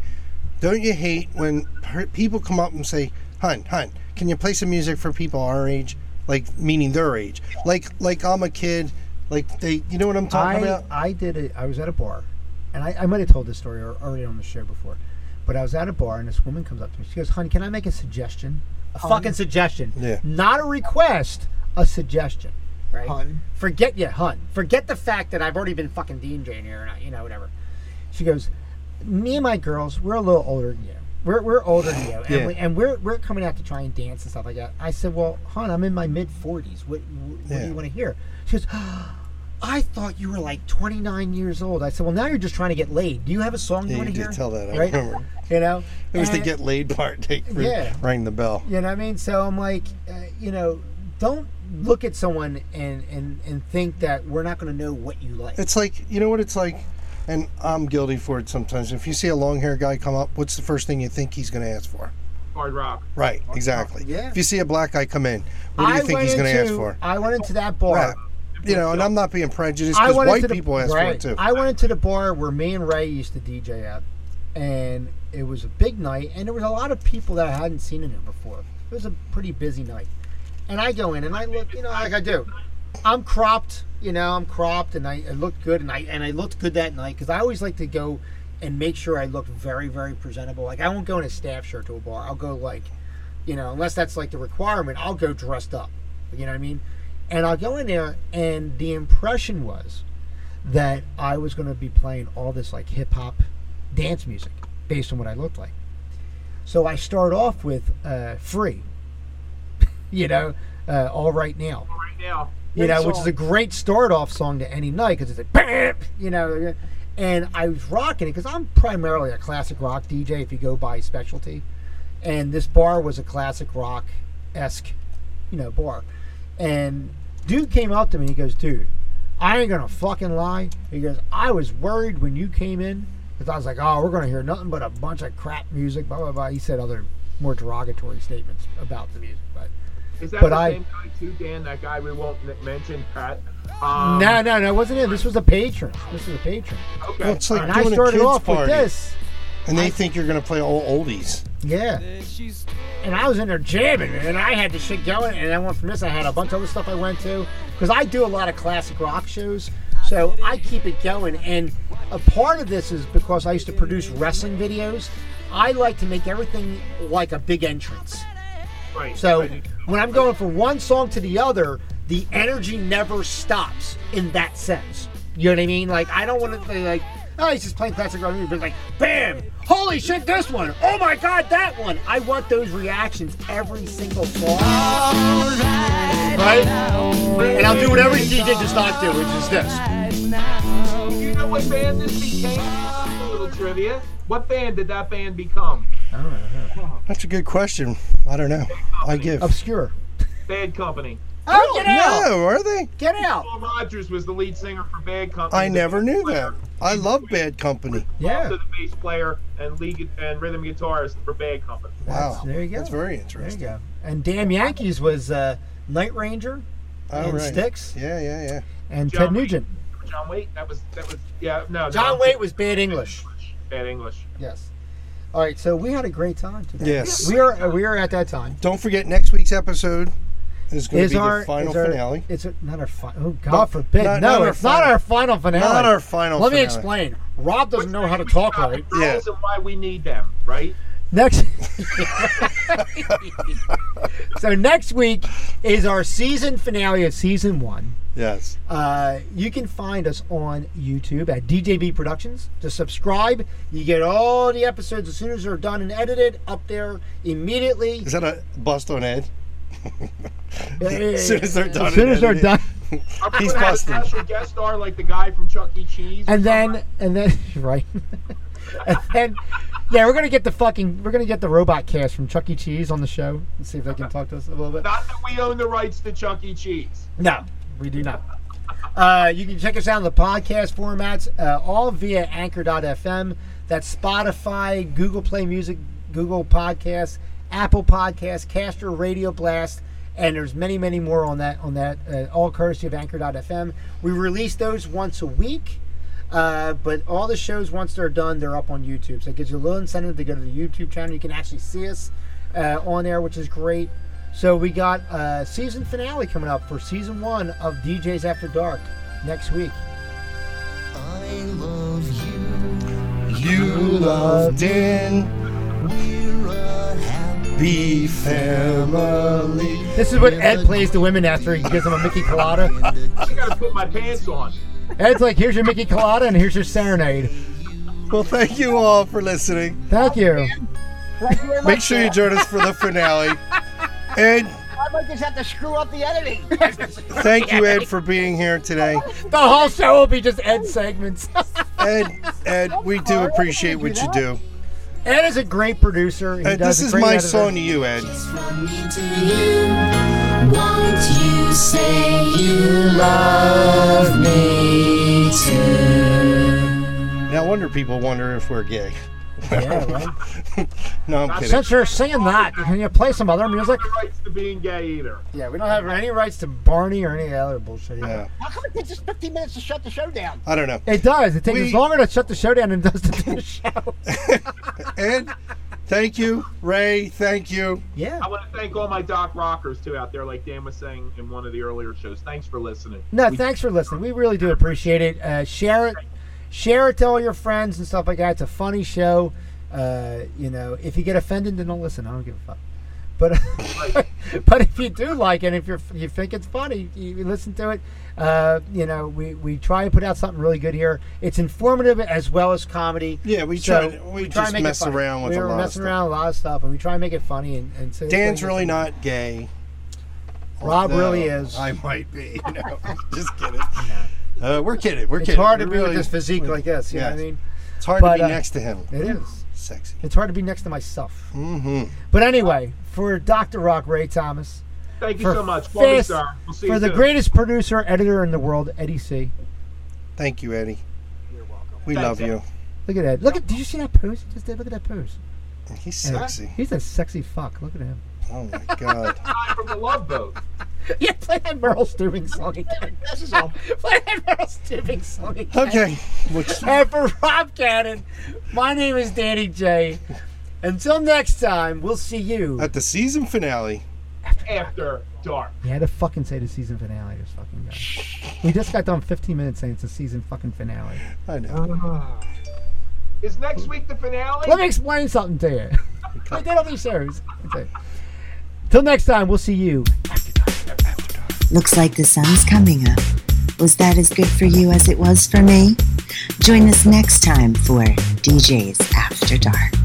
[SPEAKER 3] Don't you hate when per- people come up and say, "Hun, hun, can you play some music for people our age?" Like meaning their age. Like like I'm a kid. Like they, you know what I'm talking
[SPEAKER 2] I,
[SPEAKER 3] about?
[SPEAKER 2] I did it. I was at a bar, and I, I might have told this story or- already on the show before, but I was at a bar and this woman comes up to me. She goes, "Honey, can I make a suggestion? A fucking suggestion.
[SPEAKER 3] Yeah.
[SPEAKER 2] Not a request. A suggestion. Right?
[SPEAKER 5] Hun.
[SPEAKER 2] Forget yeah, hun. Forget the fact that I've already been fucking DJing here, and I, you know whatever." She goes, "Me and my girls, we're a little older than you." We're, we're older than you, and,
[SPEAKER 3] Yeah.
[SPEAKER 2] we, and we're, we're coming out to try and dance and stuff like that. I said, "Well, hon, I'm in my mid 40s. What, what do
[SPEAKER 3] Yeah.
[SPEAKER 2] you want to hear?" She goes, I thought you were like 29 years old. I said, well, now you're just trying to get laid. Do you have a song you
[SPEAKER 3] Yeah, you
[SPEAKER 2] want to
[SPEAKER 3] did
[SPEAKER 2] hear?
[SPEAKER 3] tell that. I
[SPEAKER 2] right?
[SPEAKER 3] remember.
[SPEAKER 2] You know,
[SPEAKER 3] It was the
[SPEAKER 2] And-
[SPEAKER 3] get laid part. They re-
[SPEAKER 2] Yeah.
[SPEAKER 3] rang the bell.
[SPEAKER 2] You know what I mean? So I'm like, uh, you know, don't look at someone and and and think that we're not going to know what you like.
[SPEAKER 3] It's like you know what it's like, and I'm guilty for it sometimes. If you see a long hair guy come up, what's the first thing you think he's going to ask for?
[SPEAKER 4] Hard rock.
[SPEAKER 3] Right, exactly.
[SPEAKER 2] Yeah.
[SPEAKER 3] If you see a black guy come in, what do you
[SPEAKER 2] I
[SPEAKER 3] think
[SPEAKER 2] went
[SPEAKER 3] he's going to ask
[SPEAKER 2] into-
[SPEAKER 3] for?
[SPEAKER 2] I went into that bar.
[SPEAKER 3] Right. You know, and I'm not being prejudiced
[SPEAKER 2] I
[SPEAKER 3] because
[SPEAKER 2] went
[SPEAKER 3] white
[SPEAKER 2] into the-
[SPEAKER 3] people ask
[SPEAKER 2] right.
[SPEAKER 3] for it too.
[SPEAKER 2] I went into the bar where me and Ray used to DJ at, and it was a big night, and there was a lot of people that I hadn't seen in there before. It was a pretty busy night, and I go in and I look, you know, like I do. I'm cropped, you know, I'm cropped, and I, I looked good, and I and I looked good that night because I always like to go and make sure I look very, very presentable. Like I won't go in a staff shirt to a bar. I'll go like, you know, unless that's like the requirement, I'll go dressed up. You know what I mean? And I'll go in there, and the impression was that I was going to be playing all this like hip hop dance music based on what I looked like. So I start off with uh, Free, you know, uh, All Right Now,
[SPEAKER 4] Right now.
[SPEAKER 2] you know, which is a great start off song to any night because it's like, bam, you know, and I was rocking it because I'm primarily a classic rock DJ if you go by specialty. And this bar was a classic rock esque, you know, bar. And dude came up to me and he goes, dude, I ain't gonna fucking lie. He goes, I was worried when you came in because I was like, oh, we're gonna hear nothing but a bunch of crap music, blah blah blah. He said other more derogatory statements about the music, but
[SPEAKER 4] Is that
[SPEAKER 2] But
[SPEAKER 4] the
[SPEAKER 2] I-
[SPEAKER 4] same guy too, Dan? That guy we won't n- mention, Pat. Um,
[SPEAKER 2] no, no, no, it wasn't it. This was a patron. This was a patron.
[SPEAKER 4] Okay.
[SPEAKER 3] Well, it's like
[SPEAKER 2] and I
[SPEAKER 3] doing a
[SPEAKER 2] started
[SPEAKER 3] kids
[SPEAKER 2] off
[SPEAKER 3] party,
[SPEAKER 2] with this.
[SPEAKER 3] and they think you're going to play all oldies.
[SPEAKER 2] Yeah. And I was in there jamming, and I had the shit going, and I went from this. I had a bunch of other stuff I went to because I do a lot of classic rock shows, so I keep it going. And a part of this is because I used to produce wrestling videos. I like to make everything like a big entrance.
[SPEAKER 4] Right.
[SPEAKER 2] So
[SPEAKER 4] Right.
[SPEAKER 2] when I'm going from one song to the other, the energy never stops in that sense. You know what I mean? Like I don't want to like oh, he's just playing classic rock music. But like, bam! Holy shit, this one! Oh my god, that one! I want those reactions every single song. Right? And I'll do whatever DJ does not do, which is this.
[SPEAKER 4] You know what band this became? A little trivia. What band did that band become?
[SPEAKER 3] That's a good question. I don't know. I give.
[SPEAKER 2] Obscure.
[SPEAKER 4] Bad Company.
[SPEAKER 2] Oh, get out!
[SPEAKER 3] No, are they?
[SPEAKER 2] Get out!
[SPEAKER 4] Paul Rogers was the lead singer for Bad Company.
[SPEAKER 3] I never knew that. I love Bad Company.
[SPEAKER 2] Yeah.
[SPEAKER 4] Also the bass player and lead gu- and rhythm guitarist for Bad Company.
[SPEAKER 3] Wow.
[SPEAKER 2] There you go.
[SPEAKER 3] That's very
[SPEAKER 2] There you
[SPEAKER 3] interesting.
[SPEAKER 2] go. And Damn Yankees was uh, Night Ranger
[SPEAKER 3] All
[SPEAKER 2] and
[SPEAKER 3] right.
[SPEAKER 2] Sticks
[SPEAKER 3] Yeah, yeah, yeah.
[SPEAKER 2] and
[SPEAKER 4] John
[SPEAKER 2] Ted
[SPEAKER 4] Wayne.
[SPEAKER 2] Nugent.
[SPEAKER 4] John Waite. That was that was yeah no.
[SPEAKER 2] John Waite was bad English.
[SPEAKER 4] Bad English.
[SPEAKER 2] Yes. All right, so we had a great time today.
[SPEAKER 3] Yes.
[SPEAKER 2] We are we are at that time.
[SPEAKER 3] Don't forget next week's episode is going to
[SPEAKER 2] Is
[SPEAKER 3] be
[SPEAKER 2] our
[SPEAKER 3] the final
[SPEAKER 2] is our-
[SPEAKER 3] finale.
[SPEAKER 2] It's a, not our final. Oh God
[SPEAKER 3] Well,
[SPEAKER 2] forbid!
[SPEAKER 3] not-
[SPEAKER 2] no,
[SPEAKER 3] not our
[SPEAKER 2] it's not
[SPEAKER 3] final-
[SPEAKER 2] our final finale.
[SPEAKER 3] Not our final
[SPEAKER 2] Let me
[SPEAKER 3] finale.
[SPEAKER 2] explain. Rob doesn't know how to talk
[SPEAKER 4] About
[SPEAKER 2] right.
[SPEAKER 4] The girls and why we need them, right?
[SPEAKER 2] Next. so next week is our season finale of season one.
[SPEAKER 3] Yes.
[SPEAKER 2] Uh, you can find us on YouTube at DJB Productions. Just subscribe. You get all the episodes as soon as they're done and edited up there immediately.
[SPEAKER 3] Is that a bust on Ed?
[SPEAKER 2] As
[SPEAKER 3] As soon as they're done.
[SPEAKER 2] soon as they're
[SPEAKER 3] editing.
[SPEAKER 2] done.
[SPEAKER 4] Are we
[SPEAKER 3] He's
[SPEAKER 4] gonna have a
[SPEAKER 3] busted.
[SPEAKER 4] Special guest star like the guy from Chuck E. Cheese.
[SPEAKER 2] and then and then right and then yeah we're gonna get the fucking we're gonna get the robot cast from chuck e cheese on the show and see if they can talk to us a little bit
[SPEAKER 4] Not that we own the rights to Chuck E. Cheese.
[SPEAKER 2] no we do not uh, you can check us out in the podcast formats uh, all via anchor.fm that's spotify google play music google podcasts apple podcasts Caster radio blast and there's many many more on that on that uh, all courtesy of anchor.fm we release those once a week uh, but all the shows, once they're done, they're up on YouTube. So it gives you a little incentive to go to the YouTube channel. You can actually see us uh, on there, which is great. So we got a season finale coming up for season one of DJs After Dark next week.
[SPEAKER 3] You loved in. We're a happy family.
[SPEAKER 2] This is what Ed plays to women after he gives them a Mickey Colada.
[SPEAKER 4] I gotta put my pants on.
[SPEAKER 2] Ed's like, here's your Mickey Colada and here's your serenade.
[SPEAKER 3] Well, thank you all for listening.
[SPEAKER 2] Thank you.
[SPEAKER 5] Thank you very
[SPEAKER 3] Make
[SPEAKER 5] much,
[SPEAKER 3] sure you
[SPEAKER 5] Dad.
[SPEAKER 3] join us for the finale. Ed,
[SPEAKER 5] I might just have to screw up the editing.
[SPEAKER 3] thank you, Ed, for being here today.
[SPEAKER 2] The whole show will be just Ed segments.
[SPEAKER 3] Ed, Ed, we do appreciate what you do.
[SPEAKER 2] Ed is a great producer. He
[SPEAKER 3] Ed,
[SPEAKER 2] does
[SPEAKER 3] this
[SPEAKER 2] a
[SPEAKER 3] is
[SPEAKER 2] great
[SPEAKER 3] my
[SPEAKER 2] editor.
[SPEAKER 3] song to you, Ed.
[SPEAKER 10] From me to you, won't you say you love me too?
[SPEAKER 3] No wonder people wonder if we're gay.
[SPEAKER 2] Yeah, right?
[SPEAKER 3] No, I'm kidding.
[SPEAKER 2] Since you're singing that, can you play some other music?
[SPEAKER 4] The rights to being gay either.
[SPEAKER 2] Yeah, we don't have any rights to Barney or any other bullshit. either.
[SPEAKER 3] Yeah.
[SPEAKER 5] How come it takes us 15 minutes to shut the show down?
[SPEAKER 3] I don't know.
[SPEAKER 2] It does. It takes
[SPEAKER 3] We-
[SPEAKER 2] us longer to shut the show down than it does to do the show.
[SPEAKER 3] Ed, thank you. Ray, thank you.
[SPEAKER 2] Yeah.
[SPEAKER 4] I want to thank all my doc rockers too out there, like Dan was saying in one of the earlier shows. Thanks for listening.
[SPEAKER 2] No,
[SPEAKER 4] We-
[SPEAKER 2] thanks for listening. We really do appreciate it. Uh, share it, share it to all your friends and stuff like that. It's a funny show. Uh, you know, if you get offended, then don't listen. I don't give a fuck. But but if you do like it, if you you think it's funny, you you listen to it. Uh, you know, we, we try to put out something really good here. It's informative as well as comedy.
[SPEAKER 3] Yeah, we
[SPEAKER 2] So,
[SPEAKER 3] try. we,
[SPEAKER 2] try and
[SPEAKER 3] just
[SPEAKER 2] make it
[SPEAKER 3] mess
[SPEAKER 2] funny.
[SPEAKER 3] around with
[SPEAKER 2] we
[SPEAKER 3] a
[SPEAKER 2] were
[SPEAKER 3] lot of
[SPEAKER 2] messing
[SPEAKER 3] stuff.
[SPEAKER 2] around a lot of stuff, and we try and make it funny. And, and so
[SPEAKER 3] Dan's really not gay.
[SPEAKER 2] Rob
[SPEAKER 3] although
[SPEAKER 2] really is.
[SPEAKER 3] I might be. You know, just kidding. Uh, we're kidding. We're
[SPEAKER 2] It's
[SPEAKER 3] kidding.
[SPEAKER 2] hard to
[SPEAKER 3] We
[SPEAKER 2] be
[SPEAKER 3] really-
[SPEAKER 2] with this physique like this. You know what I
[SPEAKER 3] Yes.
[SPEAKER 2] mean?
[SPEAKER 3] It's hard
[SPEAKER 2] but,
[SPEAKER 3] to be
[SPEAKER 2] uh,
[SPEAKER 3] next to him.
[SPEAKER 2] It is.
[SPEAKER 3] Sexy.
[SPEAKER 2] It's hard to be next to myself.
[SPEAKER 3] Mm-hmm.
[SPEAKER 2] But anyway, for Dr. Rock Ray Thomas,
[SPEAKER 4] Thank you
[SPEAKER 2] for
[SPEAKER 4] so much. Love you,
[SPEAKER 2] fist-
[SPEAKER 4] sir. We'll see
[SPEAKER 2] for
[SPEAKER 4] you
[SPEAKER 2] the
[SPEAKER 4] soon.
[SPEAKER 2] greatest producer editor in the world, Eddie C.
[SPEAKER 3] Thank you, Eddie.
[SPEAKER 4] You're welcome.
[SPEAKER 3] We
[SPEAKER 4] Thanks,
[SPEAKER 3] love
[SPEAKER 4] Ed.
[SPEAKER 3] you.
[SPEAKER 2] Look at that. Look at. Did you see that pose he just did? Look at that pose.
[SPEAKER 3] He's
[SPEAKER 2] Yeah.
[SPEAKER 3] sexy.
[SPEAKER 2] He's a sexy fuck. Look at him.
[SPEAKER 3] Oh my god.
[SPEAKER 4] Time from the Love Boat.
[SPEAKER 2] Yeah, play that Merle Stewing song again.
[SPEAKER 5] This is all.
[SPEAKER 2] play that Merle Stewing song again.
[SPEAKER 3] Okay. Which,
[SPEAKER 2] And for Rob Cannon, my name is Danny J. Until next time, we'll see you.
[SPEAKER 3] at the season finale.
[SPEAKER 4] After dark.
[SPEAKER 2] You had to fucking say the season finale, this fucking guy. We just got done 15 minutes saying it's the season fucking finale.
[SPEAKER 3] I know.
[SPEAKER 4] Is next week the finale?
[SPEAKER 2] Let me explain something to you. I did all these shows. That's it. Till next time, we'll see you.
[SPEAKER 1] Looks like the sun's coming up. Was that as good for you as it was for me? Join us next time for DJs After Dark.